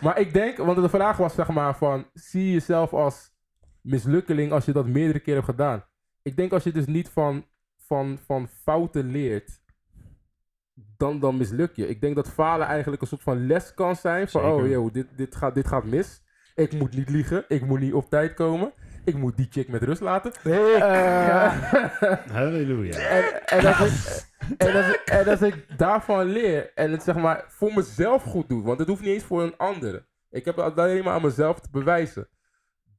Speaker 2: Maar ik denk, want de vraag was zeg maar van, zie je jezelf als mislukkeling als je dat meerdere keren hebt gedaan? Ik denk als je dus niet van, van, van fouten leert, dan, dan misluk je. Ik denk dat falen eigenlijk een soort van les kan zijn van,
Speaker 3: Zeker.
Speaker 2: oh joh, dit, dit, gaat, dit gaat mis. Ik moet niet liegen, ik moet niet op tijd komen. Ik moet die chick met rust laten.
Speaker 1: Nee.
Speaker 2: Eh,
Speaker 3: Halleluja.
Speaker 2: En, en, als ik, en, als, ik- en als ik daarvan leer en het zeg maar voor mezelf goed doe, want het hoeft niet eens voor een ander. Ik heb het alleen maar aan mezelf te bewijzen.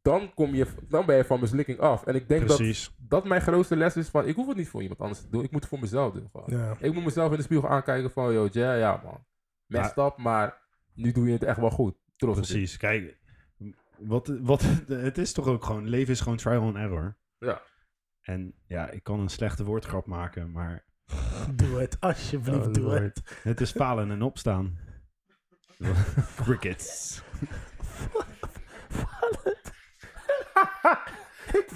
Speaker 2: Dan, kom je, dan ben je van mislukking af. En ik denk dat
Speaker 3: Precies.
Speaker 2: dat mijn grootste les is van, ik hoef het niet voor iemand anders te doen. Ik moet het voor mezelf doen. gewoon.
Speaker 1: Ja.
Speaker 2: Ik moet mezelf in de spiegel aankijken van, yo, ja, ja man. Messed up, maar nu doe je het echt wel goed. trots op
Speaker 3: Precies. Kijk, wat, wat, het is toch ook gewoon, leven is gewoon trial and error.
Speaker 2: Ja.
Speaker 3: En ja, ik kan een slechte woordgrap maken, maar
Speaker 1: Doe het, alsjeblieft,
Speaker 3: Oh,
Speaker 1: doe
Speaker 3: Lord.
Speaker 1: het.
Speaker 3: het is falen en opstaan. Crickets.
Speaker 2: dit.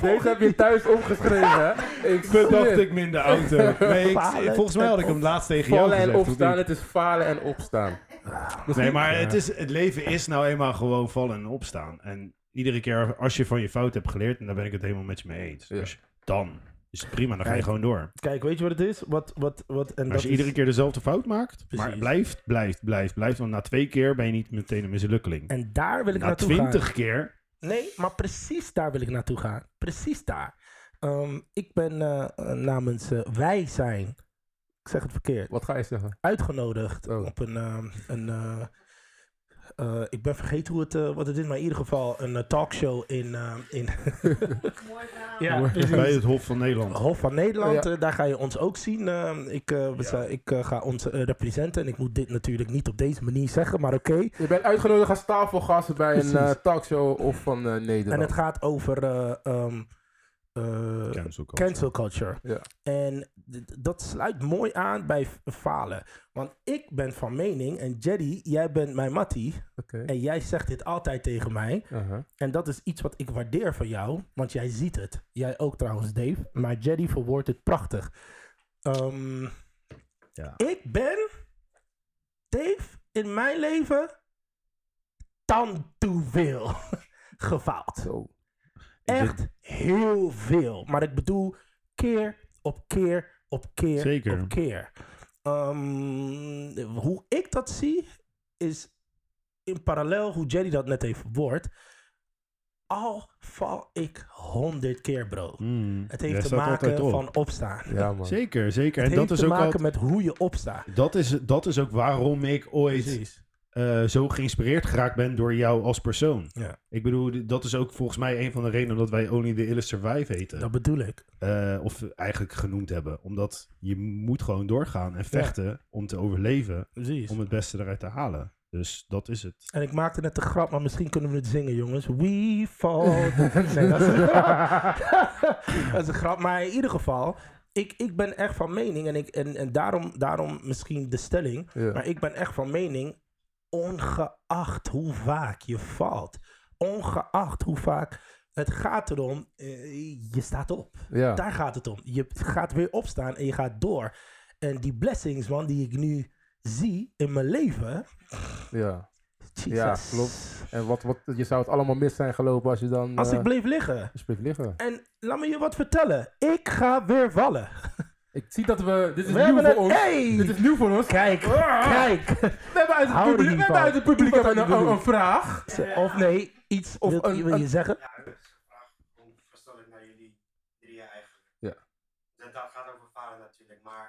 Speaker 2: Deze heb je thuis opgeschreven, hè? Ik
Speaker 3: Bedacht ik me in de auto. Nee, ik,
Speaker 1: Falen
Speaker 3: volgens mij had ik hem laatst tegen jou
Speaker 2: Vallen en
Speaker 3: gezegd. of
Speaker 2: opstaan,
Speaker 3: niet?
Speaker 2: het is falen en opstaan.
Speaker 3: Nee, maar het, is, het leven is nou eenmaal gewoon vallen en opstaan. En iedere keer als je van je fout hebt geleerd, en daar ben ik het helemaal met je mee eens.
Speaker 2: Ja.
Speaker 3: Dus dan is het prima, dan ga je
Speaker 1: Kijk,
Speaker 3: gewoon door.
Speaker 1: Kijk, weet je wat het is? Wat, wat, wat, en
Speaker 3: Maar
Speaker 1: dat
Speaker 3: als je iedere
Speaker 1: is-
Speaker 3: keer dezelfde fout maakt,
Speaker 1: Precies.
Speaker 3: maar blijft, blijft, blijft, blijft. Want na twee keer ben je niet meteen een mislukkeling.
Speaker 1: En daar wil ik
Speaker 3: Na
Speaker 1: naartoe
Speaker 3: twintig
Speaker 1: gaan.
Speaker 3: keer,
Speaker 1: Nee, maar precies daar wil ik naartoe gaan. Precies daar. Ehm, ik ben eh, eh, namens eh, Wij Zijn, ik zeg het verkeerd,
Speaker 2: Wat ga je zeggen?
Speaker 1: uitgenodigd
Speaker 2: Oh.
Speaker 1: op een... ehm, een eh, eh, ik ben vergeten hoe het, eh, wat het is, maar in ieder geval een eh, talkshow in... ehm, in ja,
Speaker 3: bij het Hof van Nederland.
Speaker 1: Hof van Nederland,
Speaker 2: Ja.
Speaker 1: eh, daar ga je ons ook zien. Ehm, ik eh, we
Speaker 3: Ja.
Speaker 1: zijn- ik eh, ga ons eh, representen. En ik moet dit natuurlijk niet op deze manier zeggen, maar oké.
Speaker 2: Je bent uitgenodigd als tafelgast bij een
Speaker 1: Precies.
Speaker 2: eh, talkshow of van eh,
Speaker 1: En
Speaker 2: Nederland.
Speaker 1: het gaat over eh, ehm, eh,
Speaker 3: Cancel culture.
Speaker 1: cancel culture.
Speaker 2: Ja.
Speaker 1: En d- d- dat sluit mooi aan bij f- falen. Want ik ben van mening, en Jerry, jij bent mijn mattie.
Speaker 2: Oké. Uh-huh.
Speaker 1: En jij zegt dit altijd tegen mij.
Speaker 2: Aha.
Speaker 1: En dat is iets wat ik waardeer van jou, want jij ziet het. Jij ook trouwens, Dave. Maar Jerry verwoordt het prachtig. Ehm,
Speaker 3: Ja.
Speaker 1: Ik ben, Dave, in mijn leven, tan toe veel gefaald.
Speaker 2: Zo.
Speaker 1: Echt heel veel. Maar ik bedoel, keer op keer op keer
Speaker 3: Zeker.
Speaker 1: op keer. Ehm, hoe ik dat zie, is in parallel hoe Jerry dat net heeft verwoord. Al val ik honderd keer, bro.
Speaker 3: Mm,
Speaker 1: Het
Speaker 3: jij
Speaker 1: heeft te
Speaker 3: staat
Speaker 1: maken
Speaker 3: altijd op.
Speaker 1: van opstaan.
Speaker 2: Ja, man.
Speaker 3: Zeker, zeker.
Speaker 1: Het
Speaker 3: en dat
Speaker 1: heeft
Speaker 3: is,
Speaker 1: te
Speaker 3: ook
Speaker 1: maken
Speaker 3: altijd,
Speaker 1: met hoe je opstaat.
Speaker 3: dat, is, dat is ook waarom ik ooit
Speaker 1: Precies.
Speaker 3: eh, zo geïnspireerd geraakt ben door jou als persoon.
Speaker 1: Ja.
Speaker 3: Ik bedoel, d- dat is ook volgens mij een van de redenen dat wij Only the Illest Survive heten.
Speaker 1: Dat bedoel ik.
Speaker 3: Eh, of eigenlijk genoemd hebben. Omdat je moet gewoon doorgaan en vechten om te overleven.
Speaker 1: Precies.
Speaker 3: Om het beste eruit te halen. Dus dat is het.
Speaker 1: En ik maakte net de grap, maar misschien kunnen we het zingen, jongens. We fall. Nee, dat is een grap. dat is een grap. Maar in ieder geval, ik, ik ben echt van mening. En, ik, en, en daarom, daarom misschien de stelling.
Speaker 2: Ja.
Speaker 1: Maar ik ben echt van mening, ongeacht hoe vaak je valt. Ongeacht hoe vaak. Het gaat erom, eh, je staat op.
Speaker 2: Ja.
Speaker 1: Daar gaat het om. Je gaat weer opstaan en je gaat door. En die blessings, man, die ik nu zie in mijn leven.
Speaker 2: ja.
Speaker 1: Jesus.
Speaker 2: Ja, klopt. En wat, wat, je zou het allemaal mis zijn gelopen als je dan...
Speaker 1: Als
Speaker 2: eh,
Speaker 1: ik bleef liggen.
Speaker 2: dus bleef liggen.
Speaker 1: En laat me je wat vertellen. Ik ga weer vallen.
Speaker 2: Ik zie dat we... Dit is
Speaker 1: We
Speaker 2: nieuw
Speaker 1: hebben
Speaker 2: voor
Speaker 1: een...
Speaker 2: ons. Dit
Speaker 1: Hey!
Speaker 2: is Ah! nieuw voor ons.
Speaker 1: Kijk, kijk.
Speaker 2: We hebben uit het
Speaker 1: Hou er
Speaker 2: publiek,
Speaker 1: niet
Speaker 2: we
Speaker 1: van.
Speaker 2: hebben uit het publiek
Speaker 1: Iemand
Speaker 2: hebben
Speaker 1: uit
Speaker 2: we
Speaker 1: het
Speaker 2: een, een
Speaker 1: publiek.
Speaker 2: vraag.
Speaker 1: Of nee, iets. Of wil,
Speaker 2: een-
Speaker 1: wil je
Speaker 2: een-
Speaker 1: zeggen?
Speaker 4: Ja, dat is een vraag gewoon verstandig naar jullie drieën eigenlijk.
Speaker 2: Ja.
Speaker 4: Dat, dat gaat over falen natuurlijk, maar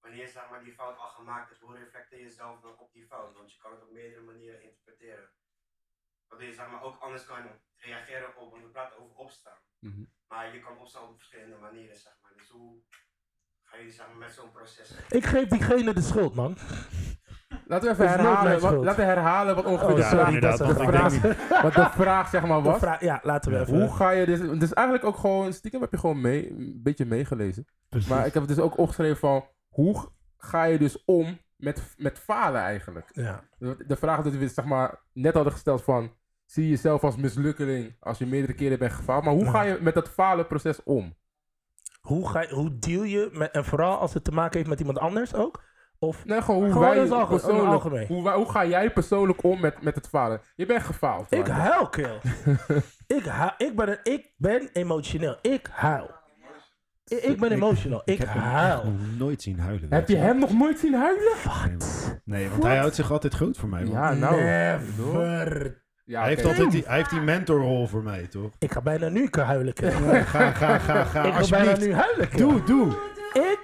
Speaker 4: wanneer zeg maar, die fout al gemaakt is, hoe reflecteer je zelf dan op die fout? Want je kan het op meerdere manieren interpreteren. Waardoor je zeg maar, ook anders kan reageren op, want we praten over opstaan.
Speaker 2: Mhm.
Speaker 4: Maar je kan opstaan op verschillende manieren, zeg maar. Dus hoe ga je zeg maar, met zo'n proces?
Speaker 1: Ik geef diegene de schuld, man.
Speaker 2: Laten we even
Speaker 1: Het is nooit mijn
Speaker 2: herhalen, wat,
Speaker 1: schuld.
Speaker 2: laten we herhalen wat ongeveer
Speaker 1: Oh,
Speaker 2: de,
Speaker 1: sorry,
Speaker 2: vraag,
Speaker 1: inderdaad,
Speaker 2: wat,
Speaker 1: want
Speaker 2: de
Speaker 1: ik
Speaker 2: vraag,
Speaker 3: denk
Speaker 2: wat de vraag zeg maar
Speaker 1: De
Speaker 2: was.
Speaker 1: vraag- ja, laten we
Speaker 3: Ja,
Speaker 1: even.
Speaker 2: Hoe ga je dit... Dus eigenlijk ook gewoon... Stiekem heb je gewoon mee, een beetje meegelezen. Maar ik heb het dus ook opgeschreven van... Hoe ga je dus om met, met falen eigenlijk?
Speaker 1: Ja,
Speaker 2: De vraag dat we zeg maar, net hadden gesteld van... Zie je jezelf als mislukkeling als je meerdere keren bent gefaald? Maar hoe
Speaker 1: Ja.
Speaker 2: ga je met dat falenproces om?
Speaker 1: hoe, ga je, hoe deal je met. En vooral als het te maken heeft met iemand anders ook? Of.
Speaker 2: Nee, gewoon hoe
Speaker 1: Gewoon
Speaker 2: wij
Speaker 1: in het alge- in het
Speaker 2: persoonlijk...
Speaker 1: algemeen.
Speaker 2: Hoe, wij- hoe ga jij persoonlijk om met, met het falen? Je bent gefaald.
Speaker 1: Ik
Speaker 2: maar-
Speaker 1: huil, kill. ik, huil, ik, ben, een- ik ben emotioneel. Ik huil. I- Ik, ben emotional. Ik, Oh. huil.
Speaker 3: nog nooit zien huilen.
Speaker 2: Heb je hem nog nooit zien huilen?
Speaker 3: Nee, want hij houdt zich altijd groot voor mij. man.
Speaker 2: Ja, nou.
Speaker 1: Never.
Speaker 2: Ja,
Speaker 3: hij, heeft
Speaker 2: oké.
Speaker 3: altijd die, hij heeft die mentorrol voor mij, toch?
Speaker 1: Ik ga bijna nu huilen, kill.
Speaker 3: Ga, ga, ga, ga.
Speaker 1: Ik wil bijna
Speaker 3: Alsjeblieft.
Speaker 1: nu huilen, kill.
Speaker 3: Doe, doe.
Speaker 1: Ik,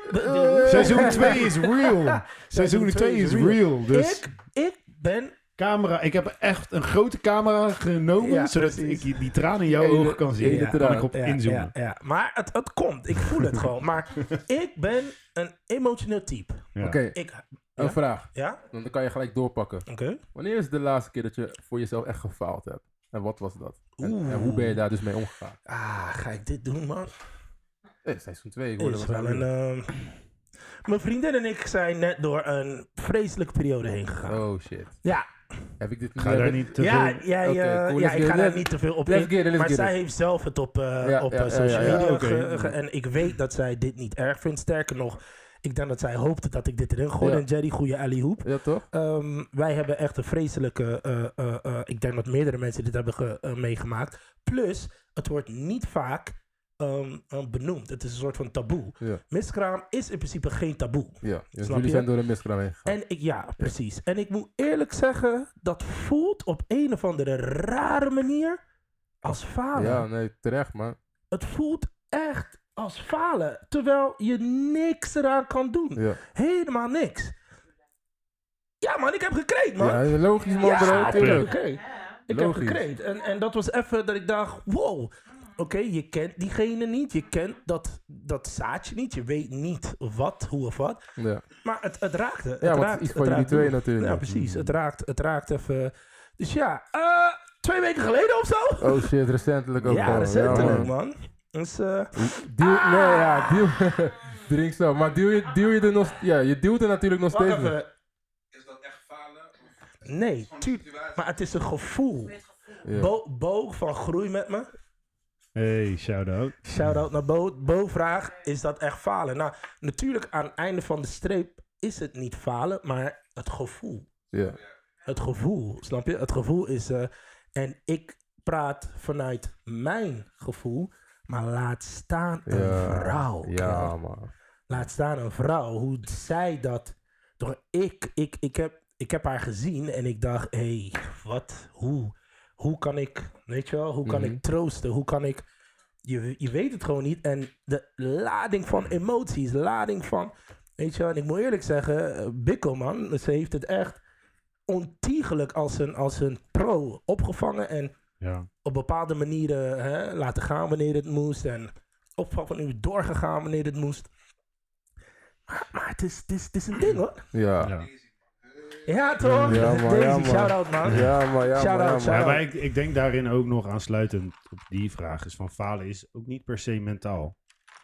Speaker 3: Seizoen 2 is real. Seizoen 2 is real. Dus
Speaker 1: ik, ik ben...
Speaker 3: camera. Ik heb echt een grote camera genomen.
Speaker 1: Ja,
Speaker 3: zodat
Speaker 1: precies.
Speaker 3: ik die tranen in jouw
Speaker 2: Ene-
Speaker 3: ogen kan zien.
Speaker 2: ene
Speaker 3: Ja, kan
Speaker 2: traan.
Speaker 3: ik op
Speaker 1: ja,
Speaker 3: inzoomen.
Speaker 1: Ja, ja. Maar het, het komt. Ik voel het gewoon. Maar ik ben een emotioneel type.
Speaker 3: Ja.
Speaker 2: Oké,
Speaker 1: Ik
Speaker 2: Een
Speaker 1: Ja.
Speaker 2: vraag,
Speaker 1: Ja?
Speaker 2: want dan kan je gelijk doorpakken.
Speaker 1: Oké.
Speaker 2: Wanneer is de laatste keer dat je voor jezelf echt gefaald hebt? En wat was dat? En,
Speaker 1: Oeh.
Speaker 2: en hoe ben je daar dus mee omgegaan?
Speaker 1: Ah, ga ik dit doen, man?
Speaker 2: Eh, seizoen 2, ik hoorde
Speaker 1: Is
Speaker 2: wat
Speaker 1: wel een,
Speaker 2: aan
Speaker 1: ehm, Mijn vriendin en ik zijn net door een vreselijke periode heen gegaan.
Speaker 2: Oh shit.
Speaker 1: Ja,
Speaker 2: Heb ik dit
Speaker 3: Ga je
Speaker 2: heb
Speaker 3: daar
Speaker 2: ik-
Speaker 3: niet te
Speaker 1: ja,
Speaker 3: veel...
Speaker 1: jij,
Speaker 2: Oké,
Speaker 1: eh,
Speaker 2: cool,
Speaker 1: ja
Speaker 2: let's
Speaker 1: ik
Speaker 2: get
Speaker 1: ga daar
Speaker 2: it, let's-
Speaker 1: niet te veel op
Speaker 2: let's
Speaker 1: in.
Speaker 2: get it, let's
Speaker 1: maar
Speaker 2: get
Speaker 1: zij
Speaker 2: it.
Speaker 1: heeft zelf het op, eh,
Speaker 2: ja,
Speaker 1: op eh,
Speaker 2: ja, ja,
Speaker 1: social
Speaker 2: ja,
Speaker 1: media
Speaker 3: oké.
Speaker 1: ge- ge- En ik weet dat zij dit niet erg vindt. Sterker nog, ik denk dat zij hoopte dat ik dit erin gooide.
Speaker 2: Ja.
Speaker 1: En Jerry, goede alley-hoop.
Speaker 2: Ja, toch?
Speaker 1: Ehm, wij hebben echt een vreselijke. eh, eh, eh, ik denk dat meerdere mensen dit hebben ge- eh, meegemaakt. Plus, het wordt niet vaak ehm, eh, benoemd. Het is een soort van taboe.
Speaker 2: Ja.
Speaker 1: Miskraam is in principe geen taboe.
Speaker 2: Ja.
Speaker 1: Snap
Speaker 2: Dus jullie
Speaker 1: je?
Speaker 2: zijn door een miskraam heen gegaan.
Speaker 1: En ik, ja, precies. En ik moet eerlijk zeggen, dat voelt op een of andere rare manier als falen.
Speaker 2: Ja, nee, terecht, man.
Speaker 1: Het voelt echt als falen. Terwijl je niks eraan kan doen.
Speaker 2: Ja.
Speaker 1: Helemaal niks. Ja, man, ik heb gecreed, man.
Speaker 2: Ja, logisch, man,
Speaker 1: Ja,
Speaker 2: bro.
Speaker 1: ik heb
Speaker 2: tuurlijk.
Speaker 1: gecreed. Ik
Speaker 2: Logisch.
Speaker 1: heb gecreed. En, en dat was even dat ik dacht, wow. Oké, je kent diegene niet. Je kent dat, dat zaadje niet. Je weet niet wat, hoe of wat.
Speaker 2: Ja.
Speaker 1: Maar het, het raakte. Het
Speaker 2: Ja, want het is
Speaker 1: raakt,
Speaker 2: iets
Speaker 1: het
Speaker 2: van jullie
Speaker 1: raakt
Speaker 2: twee
Speaker 1: door.
Speaker 2: natuurlijk. Mm.
Speaker 1: Ja, precies. Het raakt, het raakt even. Dus ja, eh, twee weken geleden of zo?
Speaker 2: Oh shit, recentelijk ook.
Speaker 1: ja,
Speaker 2: gewoon.
Speaker 1: recentelijk,
Speaker 2: man.
Speaker 1: man. Dus, eh,
Speaker 2: Duw- Nee, ja, duw. Drink zo. Maar duw je, duw je er nog... Ja, je duwt er natuurlijk nog
Speaker 1: wacht
Speaker 2: steeds mee.
Speaker 1: even.
Speaker 5: Is dat echt falen? Of is het
Speaker 1: Nee,
Speaker 5: gewoon een
Speaker 1: tuurlijk.
Speaker 5: situatie?
Speaker 1: Maar het is een gevoel.
Speaker 2: Ja.
Speaker 1: Bo, Bo van Groei met me.
Speaker 3: Hey, shout-out.
Speaker 1: Shout-out naar Bo. Bo vraagt, is dat echt falen? Nou, natuurlijk aan het einde van de streep is het niet falen, maar het gevoel.
Speaker 2: Ja.
Speaker 1: Het gevoel, snap je? Het gevoel is... eh, en ik praat vanuit mijn gevoel, maar laat staan een
Speaker 2: Ja.
Speaker 1: vrouw. kerel.
Speaker 2: Ja, man.
Speaker 1: Laat staan een vrouw. Hoe zij dat... Door ik, ik, ik, heb, ik heb haar gezien en ik dacht, hé, hey, wat, hoe? Hoe kan ik, weet je wel, hoe kan
Speaker 2: Mhm.
Speaker 1: ik troosten? Hoe kan ik... Je, je weet het gewoon niet. En de lading van emoties, lading van... Weet je wel, en ik moet eerlijk zeggen, eh, Bikkel, man, ze heeft het echt ontiegelijk als een, als een pro opgevangen. En
Speaker 3: Ja.
Speaker 1: op bepaalde manieren hè, laten gaan wanneer het moest. En opvatten nu doorgegaan wanneer het moest. Maar, maar het, is, het, is, het is een ding hoor.
Speaker 2: Ja.
Speaker 3: ja.
Speaker 1: Ja toch?
Speaker 2: Ja, man,
Speaker 1: Deze,
Speaker 2: ja, man.
Speaker 1: shout-out man.
Speaker 2: Ja,
Speaker 1: Shout-out,
Speaker 2: man. Ja, man. Ja,
Speaker 1: shout-out.
Speaker 3: Ja, maar ik, ik denk daarin ook nog aansluitend op die vraag is van falen is ook niet per se mentaal.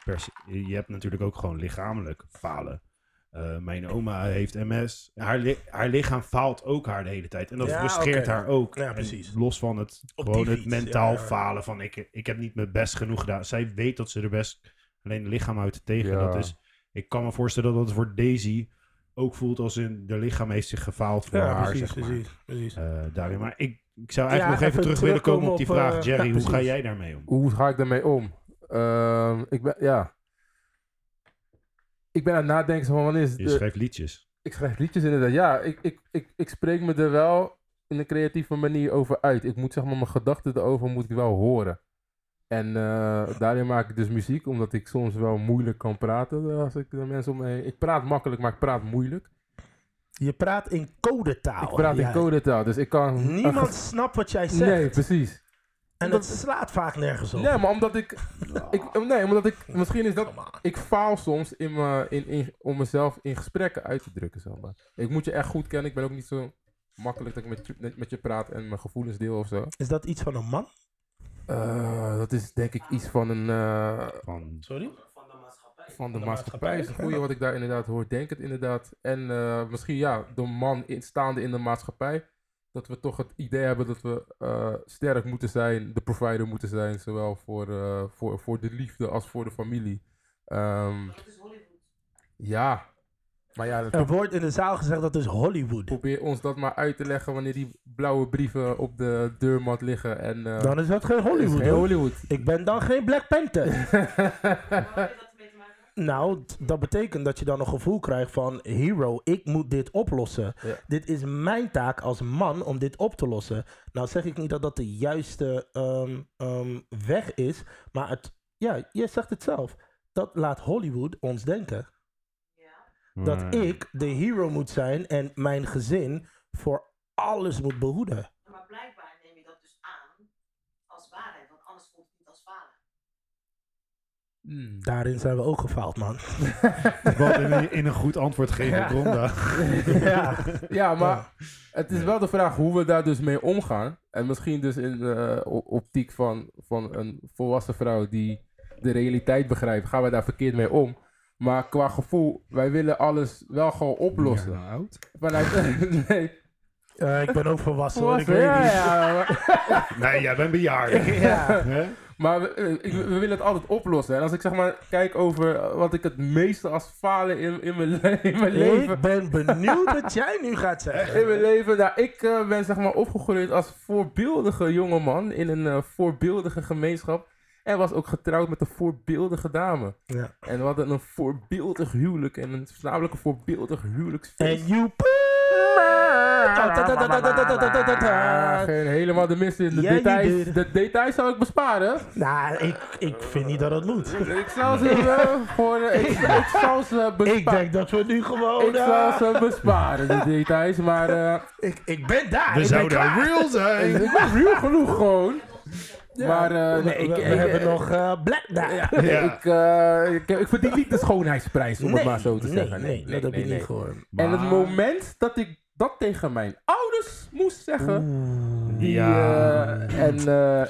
Speaker 3: Per se- je hebt natuurlijk ook gewoon lichamelijk falen. Eh, mijn oma heeft MS. Haar, li- haar lichaam faalt ook haar de hele tijd. En dat
Speaker 1: Ja,
Speaker 3: frustreert
Speaker 1: oké.
Speaker 3: haar ook.
Speaker 1: Ja,
Speaker 3: En
Speaker 1: precies.
Speaker 3: los van het,
Speaker 1: Op
Speaker 3: gewoon
Speaker 1: die
Speaker 3: het
Speaker 1: fiets,
Speaker 3: mentaal
Speaker 1: ja, ja.
Speaker 3: falen van ik, ik heb niet mijn best genoeg gedaan. Zij weet dat ze er best alleen het lichaam uit te tegen.
Speaker 2: Ja.
Speaker 3: Dat is, ik kan me voorstellen dat het voor Daisy ook voelt als in de lichaam heeft zich gefaald voor haar. zeg maar.
Speaker 1: precies.
Speaker 3: Eh, daarin. Maar ik, ik zou eigenlijk
Speaker 1: Ja,
Speaker 3: nog
Speaker 1: even
Speaker 3: even, terug willen komen
Speaker 1: terugkomen
Speaker 3: op die
Speaker 1: op,
Speaker 3: vraag.
Speaker 1: eh,
Speaker 3: Jerry,
Speaker 1: ja,
Speaker 3: hoe ga
Speaker 1: precies.
Speaker 3: jij daarmee om?
Speaker 2: Hoe ga ik daarmee om? Ehm, ik ben... Ja. Ik ben aan het nadenken van wanneer is
Speaker 3: Je
Speaker 2: de,
Speaker 3: schrijft liedjes.
Speaker 2: Ik schrijf liedjes inderdaad. Ja, ik, ik, ik, ik spreek me er wel in een creatieve manier over uit. Ik moet zeg maar mijn gedachten erover moet ik wel horen. En eh, daarin maak ik dus muziek, omdat ik soms wel moeilijk kan praten. eh, Als ik de mensen om me heen... Ik praat makkelijk, maar ik praat moeilijk.
Speaker 1: Je praat in codetaal.
Speaker 2: ik praat
Speaker 1: Ja.
Speaker 2: in codetaal, dus ik kan... een
Speaker 1: Niemand
Speaker 2: ges-
Speaker 1: snapt wat jij zegt.
Speaker 2: Nee, precies.
Speaker 1: en dat
Speaker 2: dat-
Speaker 1: slaat vaak nergens op.
Speaker 2: Nee, maar omdat ik... ik eh, nee, omdat ik... Misschien is dat
Speaker 1: Come on.
Speaker 2: ik faal soms in me, in, in, om mezelf in gesprekken uit te drukken. Zeg maar. Ik moet je echt goed kennen. Ik ben ook niet zo makkelijk dat ik met, je- net met je praat en mijn gevoelens deel of zo.
Speaker 1: Is dat iets van een man?
Speaker 2: Eh, dat is denk ik iets van een. eh,
Speaker 3: Van,
Speaker 1: Sorry?
Speaker 4: Van de maatschappij.
Speaker 2: van de,
Speaker 1: de
Speaker 2: maatschappij.
Speaker 1: maatschappij.
Speaker 2: is een goede wat ik daar inderdaad hoor. Denk het inderdaad. En eh, misschien ja, de man in, staande in de maatschappij. Dat we toch het idee hebben dat we eh, sterk moeten zijn. De provider moeten zijn. Zowel voor, eh, voor, voor de liefde als voor de familie. Ehm, ja. Maar ja, dat
Speaker 1: Er wordt in de zaal gezegd dat is Hollywood.
Speaker 2: Probeer ons dat maar uit te leggen wanneer die blauwe brieven op de deurmat liggen. En, eh,
Speaker 1: Dan is dat geen
Speaker 2: is
Speaker 1: Hollywood.
Speaker 2: geen
Speaker 1: hoor.
Speaker 2: Hollywood.
Speaker 1: Ik ben dan geen Black Panther. Nou, t- dat betekent dat je dan een gevoel krijgt van hero, ik moet dit oplossen.
Speaker 2: Ja.
Speaker 1: Dit is mijn taak als man om dit op te lossen. Nou zeg ik niet dat dat de juiste ehm, ehm, weg is, maar het, ja, je zegt het zelf. Dat laat Hollywood ons denken. Dat
Speaker 3: eh,
Speaker 1: ik de hero moet zijn en mijn gezin voor alles moet behoeden.
Speaker 6: Maar blijkbaar neem je dat dus aan als waarheid, want anders voelt het niet als falen.
Speaker 2: Hmm.
Speaker 1: Daarin zijn we ook gefaald, man.
Speaker 3: Wat in, een- in een goed antwoord geven
Speaker 2: Ja.
Speaker 3: op Ronda.
Speaker 2: ja. ja, maar het is wel de vraag hoe we daar dus mee omgaan. En misschien dus in de optiek van, van een volwassen vrouw die de realiteit begrijpt, gaan we daar verkeerd mee om. Maar qua gevoel, wij willen alles wel gewoon oplossen.
Speaker 3: Ja, nou, oud.
Speaker 2: Vanuit, nee,
Speaker 1: Eh, ik ben ook volwassen, hoor. Ik
Speaker 2: volwassen,
Speaker 1: weet het
Speaker 2: ja,
Speaker 1: niet.
Speaker 2: ja, maar-
Speaker 3: Nee, jij bent bejaard. Hè?
Speaker 2: Maar we, eh, ik- we willen het altijd oplossen. En als ik zeg maar kijk over eh, wat ik het meeste als falen in, in mijn, le- in mijn leven.
Speaker 1: Ik ben benieuwd wat jij nu gaat zeggen.
Speaker 2: In mijn leven, nou, ik eh, ben zeg maar opgegroeid als voorbeeldige jongeman in een eh, voorbeeldige gemeenschap. En was ook getrouwd met een voorbeeldige dame.
Speaker 1: Ja.
Speaker 2: En we hadden een voorbeeldig huwelijk en een namelijk een voorbeeldig huwelijksfeest.
Speaker 1: En you
Speaker 2: Geen helemaal de mist in de
Speaker 1: Ja, je
Speaker 2: details.
Speaker 1: deed.
Speaker 2: De details zou ik besparen.
Speaker 1: Nou, ik, ik vind niet dat dat moet.
Speaker 2: Ik zal ze eh, voor. eh, ik, ik zal ze
Speaker 1: Ik
Speaker 2: besparen.
Speaker 1: denk dat we nu gewoon...
Speaker 2: Ik zal
Speaker 1: eh,
Speaker 2: ze besparen, de details, maar eh
Speaker 1: ik, ik ben daar. ik
Speaker 3: We
Speaker 1: ben
Speaker 3: zouden
Speaker 1: klaar.
Speaker 3: real zijn.
Speaker 2: ik ben ruw genoeg gewoon. Maar eh,
Speaker 1: we,
Speaker 2: nee, ik,
Speaker 1: we- we
Speaker 2: ik-
Speaker 1: hebben nog eh, Black daar.
Speaker 3: Ja.
Speaker 2: ik, eh, ik, ik verdien niet de schoonheidsprijs, om het maar zo te
Speaker 1: nee,
Speaker 2: zeggen.
Speaker 1: Nee, dat heb ik niet gehoord. Ah.
Speaker 2: En het moment dat ik dat tegen mijn ouders moest zeggen,
Speaker 1: Mm.
Speaker 2: die,
Speaker 3: Ja.
Speaker 2: eh, en, eh,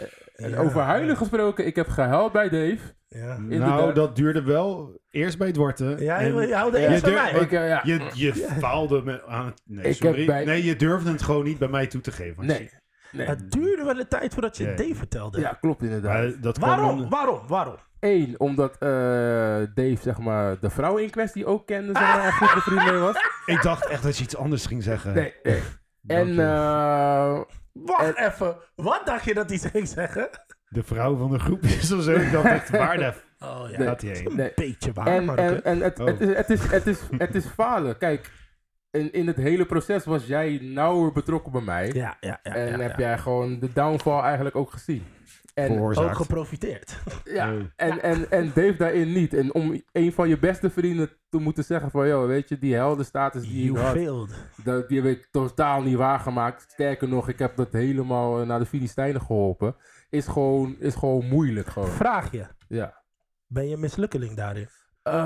Speaker 2: en
Speaker 1: Ja.
Speaker 2: over huilen gesproken, ik heb gehuild bij Dave.
Speaker 1: Ja,
Speaker 3: Nou,
Speaker 2: inderdaad.
Speaker 3: dat duurde wel. Eerst bij Dwarte.
Speaker 1: ja
Speaker 3: en-
Speaker 1: je houdt
Speaker 3: Je
Speaker 1: eerst aan
Speaker 3: durft-
Speaker 1: mij.
Speaker 2: Ik, eh, ja.
Speaker 3: Je, je faalde me aan het... Nee,
Speaker 2: Ik
Speaker 3: sorry.
Speaker 2: heb bij-
Speaker 3: Nee, je durfde het gewoon niet bij mij toe te geven. Want
Speaker 2: Nee. nee.
Speaker 1: Het duurde wel een tijd voordat je
Speaker 3: Ja.
Speaker 1: Dave vertelde.
Speaker 2: Ja, klopt inderdaad.
Speaker 3: Maar dat kwam
Speaker 1: Waarom?
Speaker 3: om-
Speaker 1: Waarom? Waarom?
Speaker 2: Eén, omdat eh, Dave, zeg maar, de vrouw in kwestie ook kende, zeg maar, en goed bevriend mee was.
Speaker 3: Ik dacht echt dat je iets anders ging zeggen.
Speaker 2: Nee, nee. En,
Speaker 3: Dank je.
Speaker 2: eh,
Speaker 1: Wacht even. Wat dacht je dat hij zou zeggen?
Speaker 3: De vrouw van de groep is of zo. Ik dacht echt, waar de f-
Speaker 1: Oh ja.
Speaker 2: Nee.
Speaker 3: gaat hij heen?
Speaker 2: nee.
Speaker 1: Een beetje waar,
Speaker 2: en,
Speaker 1: maar
Speaker 2: en, en het,
Speaker 3: Oh.
Speaker 2: het, is, het, is, het, is, het is falen. Kijk, in, in het hele proces was jij nauwer betrokken bij mij.
Speaker 1: Ja, ja, ja.
Speaker 2: en
Speaker 1: ja,
Speaker 2: heb
Speaker 1: ja.
Speaker 2: jij gewoon de downfall eigenlijk ook gezien. En,
Speaker 1: ook
Speaker 3: Veroorzaakt.
Speaker 1: geprofiteerd?
Speaker 2: ja,
Speaker 3: Oh.
Speaker 2: en, en, en Dave daarin niet. En om een van je beste vrienden te moeten zeggen van... ...joh, weet je, die heldenstatus die
Speaker 1: You
Speaker 2: ik had...
Speaker 1: failed.
Speaker 2: Dat, die heb ik totaal niet waargemaakt. Sterker nog, ik heb dat helemaal eh, naar de Filistijnen geholpen. Is gewoon, is gewoon moeilijk. Gewoon.
Speaker 1: Vraag je.
Speaker 2: Ja.
Speaker 1: Ben je mislukkeling daarin?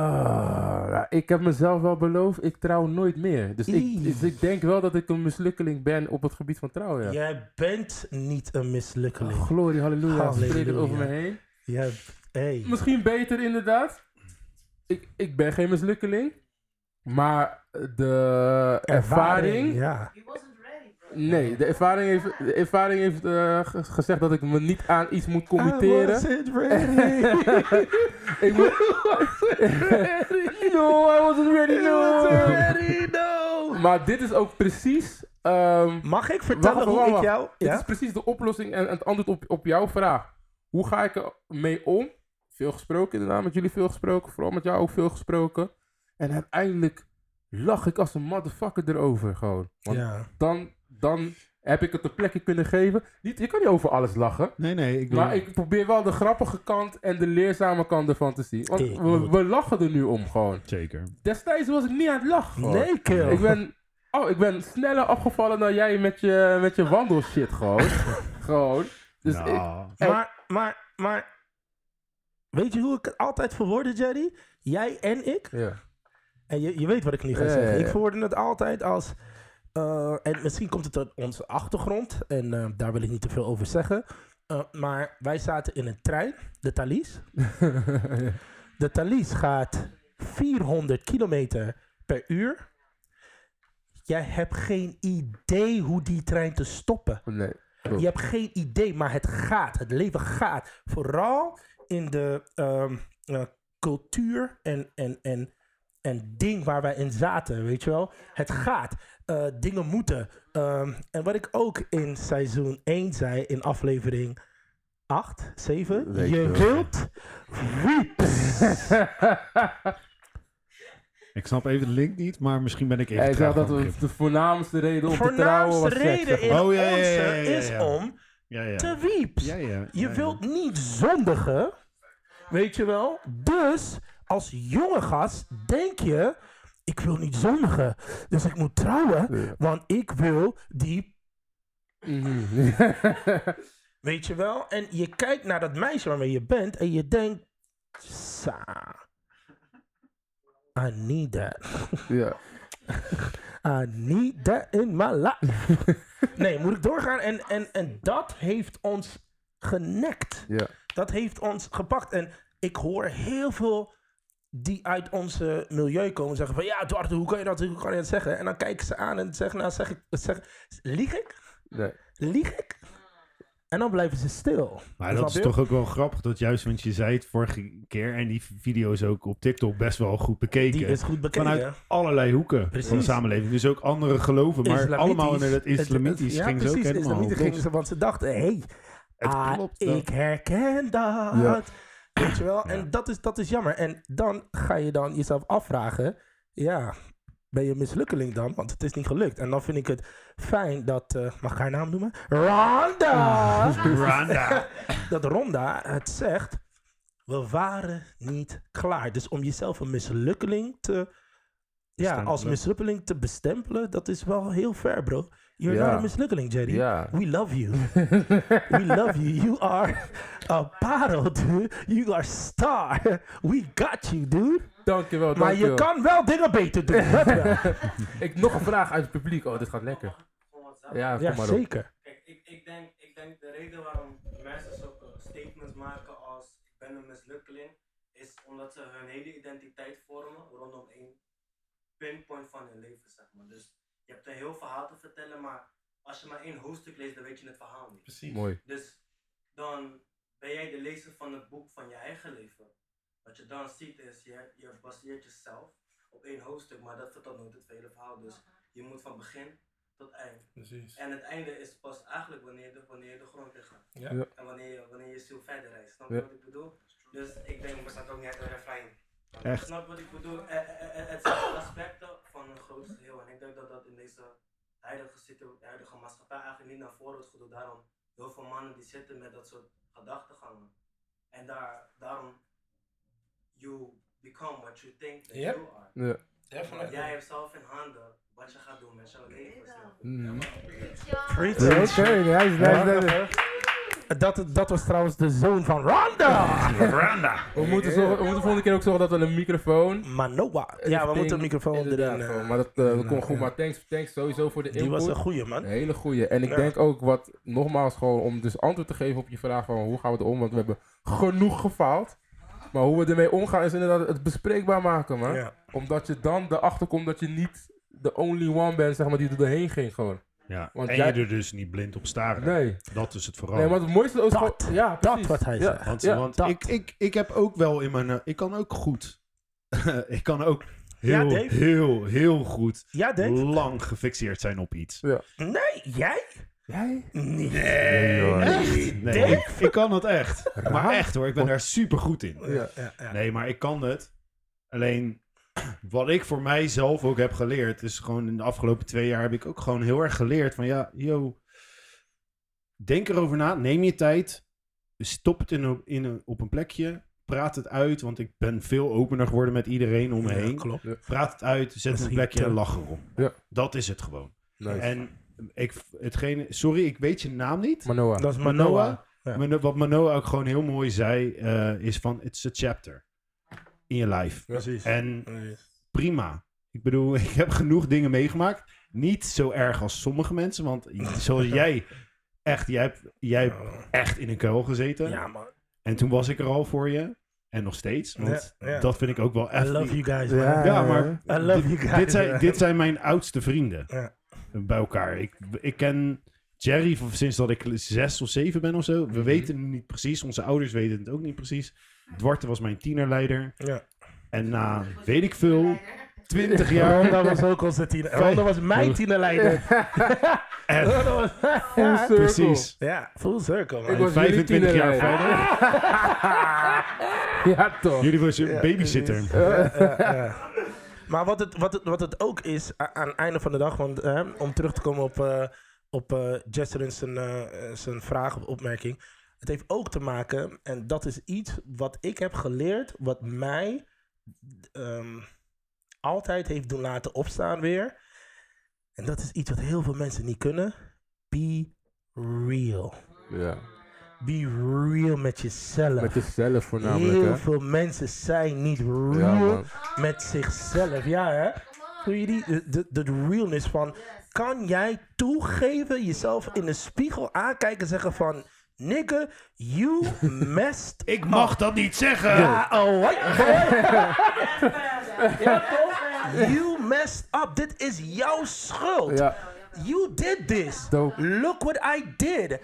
Speaker 2: Ah, nou, ik heb mezelf wel beloofd, ik trouw nooit meer. Dus ik,
Speaker 1: Ie.
Speaker 2: dus ik denk wel dat ik een mislukkeling ben op het gebied van trouwen. Ja. Oh.
Speaker 1: Jij bent niet een mislukkeling.
Speaker 2: Glorie, halleluja.
Speaker 1: Halleluja.
Speaker 2: Spreek het over me heen.
Speaker 1: Jij, hey.
Speaker 2: Misschien beter inderdaad. Ik, ik ben geen mislukkeling. Maar de ervaring
Speaker 1: Ja.
Speaker 6: He wasn't ready, bro.
Speaker 2: Nee, de ervaring heeft, de ervaring heeft eh, ge- gezegd dat ik me niet aan iets moet committeren. Ik moet... no, I wasn't ready, no. Maar dit is ook precies... ehm,
Speaker 1: Mag ik vertellen
Speaker 2: Wacht,
Speaker 1: hoe
Speaker 2: wacht,
Speaker 1: ik
Speaker 2: wacht.
Speaker 1: jou...
Speaker 2: Dit
Speaker 1: Ja?
Speaker 2: is precies de oplossing en het antwoord op, op jouw vraag. Hoe ga ik er mee om? Veel gesproken inderdaad, met jullie veel gesproken. Vooral met jou ook veel gesproken. En uiteindelijk lach ik als een motherfucker erover gewoon. Want
Speaker 1: Ja.
Speaker 2: dan, dan heb ik het een plekje kunnen geven. Niet, je kan niet over alles lachen.
Speaker 3: Nee, nee. Ik
Speaker 2: Maar ik probeer wel de grappige kant en de leerzame kant ervan te zien. Want
Speaker 1: Ik
Speaker 2: we,
Speaker 1: moet-
Speaker 2: we lachen er nu om gewoon.
Speaker 3: Zeker.
Speaker 2: Destijds was ik niet aan het lachen. gewoon.
Speaker 1: Nee, kill.
Speaker 2: Ik ben, oh, ik ben sneller afgevallen dan jij met je, met je wandelshit gewoon. gewoon. Dus ik,
Speaker 3: nou,
Speaker 1: Maar, maar, maar... Weet je hoe ik het altijd verwoordde, Jerry? Jij en ik?
Speaker 2: ja.
Speaker 1: En je, je weet wat ik nu ga
Speaker 2: Ja,
Speaker 1: zeggen.
Speaker 2: ja, ja.
Speaker 1: Ik verwoordde het altijd als... eh, en misschien komt het uit onze achtergrond. En eh, daar wil ik niet te veel over zeggen. Eh, maar wij zaten in een trein. De Thalys. De Thalys gaat 400 kilometer per uur. Jij hebt geen idee hoe die trein te stoppen.
Speaker 2: nee.
Speaker 1: Je
Speaker 3: Hm.
Speaker 1: hebt geen idee, maar het gaat. Het leven gaat. Vooral in de ehm, eh, cultuur en, en, en, en ding waar wij in zaten, weet je wel. Het gaat. Eh, dingen moeten. Ehm, en wat ik ook in seizoen 1 zei, in aflevering 8, 7.
Speaker 2: Weet
Speaker 1: je
Speaker 2: ik wel.
Speaker 1: wilt wieps.
Speaker 3: ik snap even de link niet, maar misschien ben ik even
Speaker 2: Hij zei
Speaker 3: traag
Speaker 2: dat
Speaker 3: van
Speaker 2: we-
Speaker 3: begrip.
Speaker 2: de voornaamste reden om te trouwen
Speaker 1: voornaamste
Speaker 2: was seks.
Speaker 1: reden
Speaker 2: zeg
Speaker 1: in
Speaker 2: maar.
Speaker 3: Oh, ja, ja, ja,
Speaker 1: onze
Speaker 3: ja, ja,
Speaker 1: is
Speaker 3: ja.
Speaker 1: om
Speaker 3: Ja, ja.
Speaker 1: te wieps.
Speaker 3: Ja, ja, ja,
Speaker 1: Je
Speaker 3: ja.
Speaker 1: wilt niet zondigen, weet je wel? Dus als jonge gast denk je, ik wil niet zondigen, dus ik moet trouwen, want ik wil die,
Speaker 2: Mhm.
Speaker 1: weet je wel? En je kijkt naar dat meisje waarmee je bent en je denkt, Sa. I need that.
Speaker 2: Ja.
Speaker 1: I need that in my life. nee, moet ik doorgaan? En, en, en dat heeft ons genekt.
Speaker 2: Ja.
Speaker 1: Dat heeft ons gepakt. En ik hoor heel veel die uit onze milieu komen zeggen van... Ja, Eduardo, hoe kan je dat, hoe kan je dat zeggen? En dan kijken ze aan en zeggen... Nou, zeg ik... Zeg, lieg ik?
Speaker 2: Nee.
Speaker 1: Lieg ik? En dan blijven ze stil.
Speaker 3: Maar dat is
Speaker 1: Snap je?
Speaker 3: toch ook wel grappig dat juist, want je zei het vorige keer en die video's ook op TikTok best wel goed bekeken.
Speaker 1: Die is goed bekeken.
Speaker 3: Vanuit allerlei hoeken van de
Speaker 1: Precies.
Speaker 3: samenleving. Dus ook andere geloven, maar
Speaker 1: Islamitisch.
Speaker 3: allemaal in het
Speaker 1: Het-
Speaker 3: islamitisch
Speaker 1: het- ja,
Speaker 3: ging ze ook
Speaker 1: precies,
Speaker 3: helemaal
Speaker 1: islamitisch
Speaker 3: los.
Speaker 1: gingen ze, want ze dachten, hé, hey,
Speaker 3: Het
Speaker 1: ah,
Speaker 3: klopt, dat-
Speaker 1: ik herken dat.
Speaker 2: Ja.
Speaker 1: Weet je wel?
Speaker 3: Ja.
Speaker 1: En dat is, dat is jammer. En dan ga je dan jezelf afvragen, ja, ben je een mislukkeling dan? Want het is niet gelukt. En dan vind ik het fijn dat, eh, mag ik haar naam noemen? Rhonda!
Speaker 3: Rwanda.
Speaker 1: dat Ronda het zegt. We waren niet klaar. Dus om jezelf een mislukkeling te. Ja, als
Speaker 3: Bestempelen.
Speaker 1: mislukkeling te bestempelen, dat is wel heel ver, bro. You're
Speaker 2: Ja.
Speaker 1: not a mislukkeling, Jerry.
Speaker 2: Ja.
Speaker 1: We love you. We love you. You are a parel, dude. You are star. We got you, dude.
Speaker 2: Dankjewel,
Speaker 1: Maar je
Speaker 2: dankjewel.
Speaker 1: kan wel dingen beter doen. Dat wel.
Speaker 2: Ik, nog een vraag uit het publiek. Oh, dit gaat lekker. Ja, kom
Speaker 1: ja,
Speaker 2: maar op.
Speaker 1: zeker.
Speaker 4: Kijk, ik, ik, denk, ik denk de reden waarom mensen zulke statements maken als ik ben een mislukkeling, is omdat ze hun hele identiteit vormen rondom één pinpoint van hun leven, zeg maar. Dus je hebt een heel verhaal te vertellen, maar als je maar één hoofdstuk leest, dan weet je het verhaal niet.
Speaker 2: Mooi.
Speaker 4: Dus dan ben jij de lezer van het boek van je eigen leven. Wat je dan ziet is, je, je baseert jezelf op één hoofdstuk, maar dat vertelt nooit het hele verhaal. Dus je moet van begin tot eind.
Speaker 6: Precies.
Speaker 4: En het einde is pas eigenlijk wanneer de, wanneer je de grond in gaat.
Speaker 6: Ja.
Speaker 2: Ja.
Speaker 4: En wanneer je, wanneer je ziel verder reist. Snap
Speaker 2: Ja.
Speaker 4: je wat ik bedoel? Dus ik denk, we staan ook niet uit een refrein.
Speaker 3: Echt.
Speaker 4: Snap wat ik bedoel? Eh, eh, eh, eh, het zijn aspecten van een groot geheel. En ik denk dat dat in deze huidige, situ- huidige maatschappij eigenlijk niet naar voren wordt gedoe. Daarom heel veel mannen die zitten met dat soort gedachtegangen. En daar, daarom, you become what you think that
Speaker 6: Ja.
Speaker 4: you are.
Speaker 2: Ja.
Speaker 4: Want
Speaker 6: Definitely.
Speaker 4: jij hebt zelf in handen wat je gaat doen met jouw leven. snap je?
Speaker 2: Mm.
Speaker 1: Preach.
Speaker 2: Ja, Oké, nice, nice, nice.
Speaker 1: Dat, dat was trouwens de zoon van Ronda!
Speaker 3: Rwanda.
Speaker 2: We moeten, zorgen, we moeten volgende keer ook zorgen dat we een microfoon...
Speaker 1: Manoa.
Speaker 2: een
Speaker 1: Ja, we
Speaker 2: ding-
Speaker 1: moeten een microfoon
Speaker 2: inderdaad,
Speaker 1: erin. eh,
Speaker 2: gewoon, Maar dat eh, we
Speaker 1: ja,
Speaker 2: kon goed.
Speaker 1: ja.
Speaker 2: Maar thanks, thanks sowieso voor de input.
Speaker 1: Die was een goeie, man.
Speaker 2: Een hele goeie. En ik
Speaker 1: Ja.
Speaker 2: denk ook wat, nogmaals gewoon om dus antwoord te geven op je vraag van hoe gaan we erom, want we hebben genoeg gefaald. Maar hoe we ermee omgaan is inderdaad het bespreekbaar maken, man.
Speaker 1: Ja.
Speaker 2: Omdat je dan erachter komt dat je niet de only one bent, zeg maar, die er doorheen ging gewoon.
Speaker 3: Ja,
Speaker 2: Want
Speaker 3: en
Speaker 2: jij-
Speaker 3: je er dus niet blind op staren.
Speaker 2: Nee.
Speaker 3: Dat is het vooral.
Speaker 2: Nee, want het mooiste is
Speaker 1: Dat.
Speaker 2: gewoon... Ja,
Speaker 1: Dat
Speaker 2: precies.
Speaker 1: wat hij
Speaker 2: ja.
Speaker 1: zegt.
Speaker 3: Want,
Speaker 2: Ja,
Speaker 3: want
Speaker 1: dat.
Speaker 3: ik, ik, ik heb ook wel in mijn... eh, ik kan ook goed. ik kan ook
Speaker 1: Ja,
Speaker 3: heel,
Speaker 1: Dave.
Speaker 3: heel, heel goed
Speaker 1: Ja, Dave?
Speaker 3: lang gefixeerd zijn op iets.
Speaker 1: Nee, jij?
Speaker 2: Jij?
Speaker 1: Niet.
Speaker 3: Nee,
Speaker 2: joh.
Speaker 3: echt? Nee,
Speaker 1: Dave?
Speaker 3: ik, ik kan dat echt. Maar echt hoor, ik ben daar super goed in.
Speaker 2: Ja.
Speaker 1: Ja, ja.
Speaker 3: Nee, maar ik kan het. Alleen wat ik voor mijzelf ook heb geleerd, is gewoon in de afgelopen twee jaar heb ik ook gewoon heel erg geleerd van ja, yo, denk erover na, neem je tijd, stop het in een, in een, op een plekje, praat het uit, want ik ben veel opener geworden met iedereen om me
Speaker 1: Ja,
Speaker 3: heen.
Speaker 1: klopt.
Speaker 3: Praat het uit, zet een
Speaker 1: Misschien
Speaker 3: plekje en
Speaker 1: te-
Speaker 3: lach erom.
Speaker 2: Ja.
Speaker 3: Dat is het gewoon.
Speaker 2: Nice.
Speaker 3: En ik, hetgene, sorry, ik weet je naam niet.
Speaker 2: Manoa.
Speaker 1: Dat is Manoa.
Speaker 3: Manoa.
Speaker 1: Ja.
Speaker 3: Mano- Wat Manoa ook gewoon heel mooi zei, eh, is van, it's a chapter in je life.
Speaker 1: Precies.
Speaker 3: En prima. Ik bedoel, ik heb genoeg dingen meegemaakt. Niet zo erg als sommige mensen, want zoals jij, echt, jij hebt, jij hebt echt in een kuil gezeten.
Speaker 1: Ja, man.
Speaker 3: En toen was ik er al voor je. En nog steeds, want
Speaker 1: Ja, ja.
Speaker 3: dat vind ik ook wel
Speaker 1: I
Speaker 3: echt...
Speaker 1: love you guys, man.
Speaker 2: Ja.
Speaker 3: Ja, maar
Speaker 1: I love
Speaker 3: dit,
Speaker 1: you guys.
Speaker 3: dit zijn, dit zijn mijn oudste vrienden
Speaker 1: Ja.
Speaker 3: bij elkaar. Ik, ik ken Jerry van- sinds dat ik zes of zeven ben of zo. We weten het niet precies. Onze ouders weten het ook niet precies. Dwarte was mijn tienerleider.
Speaker 1: Ja.
Speaker 3: En na, Ah, weet ik veel, twintig jaar...
Speaker 1: Ronda was ook onze tiener. Ronda was mijn tienerleider.
Speaker 3: En,
Speaker 1: Ronda was...
Speaker 2: Full circle.
Speaker 3: precies.
Speaker 1: Ja, full circle,
Speaker 2: Ik
Speaker 1: man.
Speaker 2: was jullie
Speaker 3: 25 jaar
Speaker 2: tienerleider.
Speaker 3: verder.
Speaker 2: Ja, toch.
Speaker 3: Jullie was een babysitter.
Speaker 1: Maar wat het, wat, het, wat het ook is, a- aan het einde van de dag, want eh, om terug te komen op, eh op eh, Jester zijn, eh, eh, zijn vraag of opmerking. Het heeft ook te maken, en dat is iets wat ik heb geleerd, wat mij ehm, altijd heeft doen laten opstaan weer. En dat is iets wat heel veel mensen niet kunnen. Be real.
Speaker 2: Ja.
Speaker 1: Be real met jezelf.
Speaker 2: Met jezelf voornamelijk,
Speaker 1: Heel
Speaker 2: hè?
Speaker 1: veel mensen zijn niet
Speaker 2: Ja,
Speaker 1: real
Speaker 2: man.
Speaker 1: met zichzelf. Ja, hè? Voel je die? De, de, de realness van... Kan jij toegeven, jezelf in de spiegel aankijken en zeggen van... Nigga, you messed
Speaker 3: Ik mag dat niet zeggen.
Speaker 1: Ja, oh, what? ja, toch? You messed up. Dit is jouw schuld.
Speaker 2: Ja.
Speaker 1: You did this.
Speaker 2: Dope.
Speaker 1: Look what I did.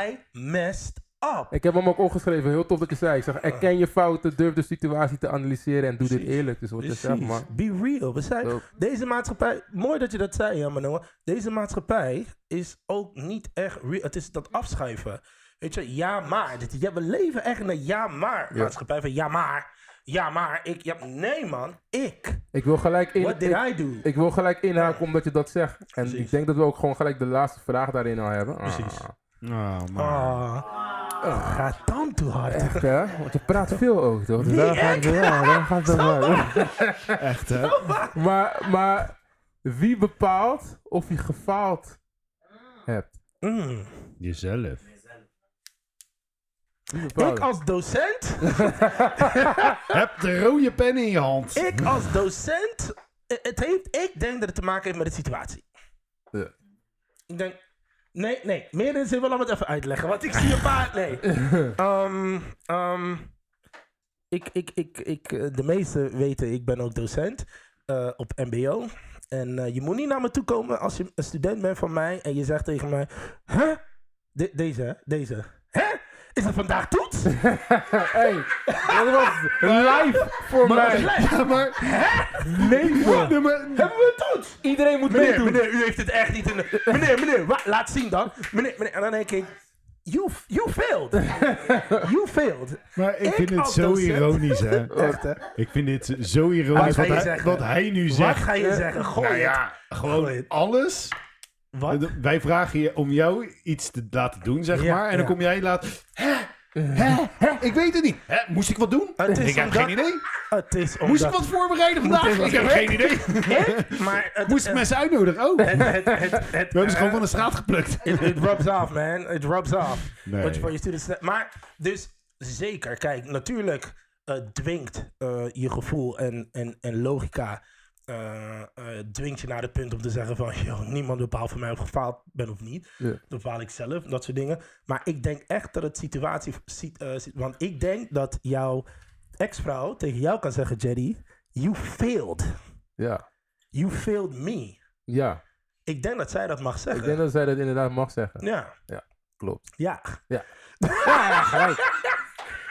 Speaker 1: I messed up.
Speaker 2: Ik heb hem ook opgeschreven. Heel tof dat je zei. Ik zeg, erken je fouten, durf de situatie te analyseren en doe dit eerlijk. Dus wat je zegt,
Speaker 1: Precies.
Speaker 2: man.
Speaker 1: Be real. We zijn,
Speaker 2: Dope.
Speaker 1: deze maatschappij, mooi dat je dat zei, ja, Manoa. Deze maatschappij is ook niet echt real. Het is dat afschuiven. Weet je, ja, maar. Dit, ja, we leven echt in een ja, maar maatschappij. Van ja, maar. Ja, maar. Ik, ja, nee, man. Ik.
Speaker 2: Ik wil gelijk in...
Speaker 1: What did
Speaker 2: ik-
Speaker 1: I do?
Speaker 2: Ik wil gelijk inhaken omdat je dat zegt. En
Speaker 1: Precies.
Speaker 2: ik denk dat we ook gewoon gelijk de laatste vraag daarin al hebben. Ah,
Speaker 1: Precies.
Speaker 3: Nou, maar.
Speaker 1: Ah, gaat dan te hard.
Speaker 2: Echt hè? Want je praat veel ook, toch? Dus
Speaker 1: Wie,
Speaker 2: daar gaat,
Speaker 1: ik?
Speaker 2: ja, daar gaat het wel.
Speaker 3: Echt, hè?
Speaker 2: Maar, maar wie bepaalt of je gefaald hebt?
Speaker 1: Mm.
Speaker 3: Jezelf.
Speaker 2: Wie bepaalt
Speaker 1: Ik
Speaker 2: het?
Speaker 1: als docent,
Speaker 3: Heb de rode pen in je hand.
Speaker 1: ik als docent, eh, het heeft, ik denk dat het te maken heeft met de situatie.
Speaker 2: Ja.
Speaker 1: Ik denk, nee, nee, meer dan zin, wel om het even uitleggen, want ik zie een paar, nee. Ehm, ehm, ik, ik, ik, ik, eh, de meesten weten, ik ben ook docent eh, op mbo. En eh, je moet niet naar me toe komen als je een student bent van mij en je zegt tegen mij, hè? De- deze, hè? deze. Hè? Is het vandaag toets?
Speaker 2: Hey, dat was live voor mij.
Speaker 1: Blijf.
Speaker 2: Leven.
Speaker 3: Nee, maar-
Speaker 1: Hebben we een toets?
Speaker 2: Iedereen moet
Speaker 1: Meneer,
Speaker 2: meedoen.
Speaker 1: meneer, u heeft het echt niet in de... Meneer, meneer, wa- laat zien dan. Meneer, meneer. En dan denk ik... You, you failed. You failed.
Speaker 3: Maar ik,
Speaker 1: Ik
Speaker 3: vind dit
Speaker 1: als
Speaker 3: zo
Speaker 1: docent-
Speaker 3: ironisch, hè? Echt, hè? Ik vind dit zo ironisch
Speaker 1: Wat ga
Speaker 3: wat
Speaker 1: je
Speaker 3: hij,
Speaker 1: zeggen?
Speaker 3: wat hij nu
Speaker 1: Wat
Speaker 3: zegt.
Speaker 1: ga je zeggen? Gooi
Speaker 3: Nou
Speaker 1: het.
Speaker 3: ja,
Speaker 1: Gooi
Speaker 3: gewoon
Speaker 1: het.
Speaker 3: alles.
Speaker 1: Wat?
Speaker 3: Wij vragen je om jou iets te laten doen, zeg
Speaker 1: Ja,
Speaker 3: maar. En dan
Speaker 1: ja.
Speaker 3: kom jij later. Hè? Hè? Hè? Ik weet het niet. Hè? Moest ik wat doen?
Speaker 1: Het is
Speaker 3: Ik heb
Speaker 1: omdat-
Speaker 3: geen idee.
Speaker 1: Het is omdat...
Speaker 3: Moest ik wat voorbereiden vandaag? Ik heb geen idee.
Speaker 1: Maar het...
Speaker 3: Moest ik
Speaker 1: het,
Speaker 3: mensen uitnodigen? Oh, we
Speaker 1: het, het, het, het,
Speaker 3: hebben ze gewoon
Speaker 1: eh,
Speaker 3: van de straat geplukt.
Speaker 1: It, it rubs off, man. It rubs off.
Speaker 3: Nee.
Speaker 1: Wat je van je students... Maar, dus zeker. Kijk, natuurlijk eh, dwingt eh, je gevoel en, en, en logica... eh, eh, dwingt je naar het punt om te zeggen van... Joh, niemand bepaalt voor mij of ik gefaald ben of niet.
Speaker 2: Ja.
Speaker 1: Dat bepaal ik zelf, dat soort dingen. Maar ik denk echt dat het situatie... ziet, eh, ziet- want ik denk dat jouw ex-vrouw tegen jou kan zeggen... Jerry, you failed.
Speaker 2: Ja,
Speaker 1: You failed me.
Speaker 2: ja.
Speaker 1: Ik denk dat zij dat mag
Speaker 2: Ik
Speaker 1: zeggen.
Speaker 2: denk dat zij dat inderdaad mag zeggen.
Speaker 1: Ja,
Speaker 2: Klopt.
Speaker 1: ja.
Speaker 2: Ja, gelijk.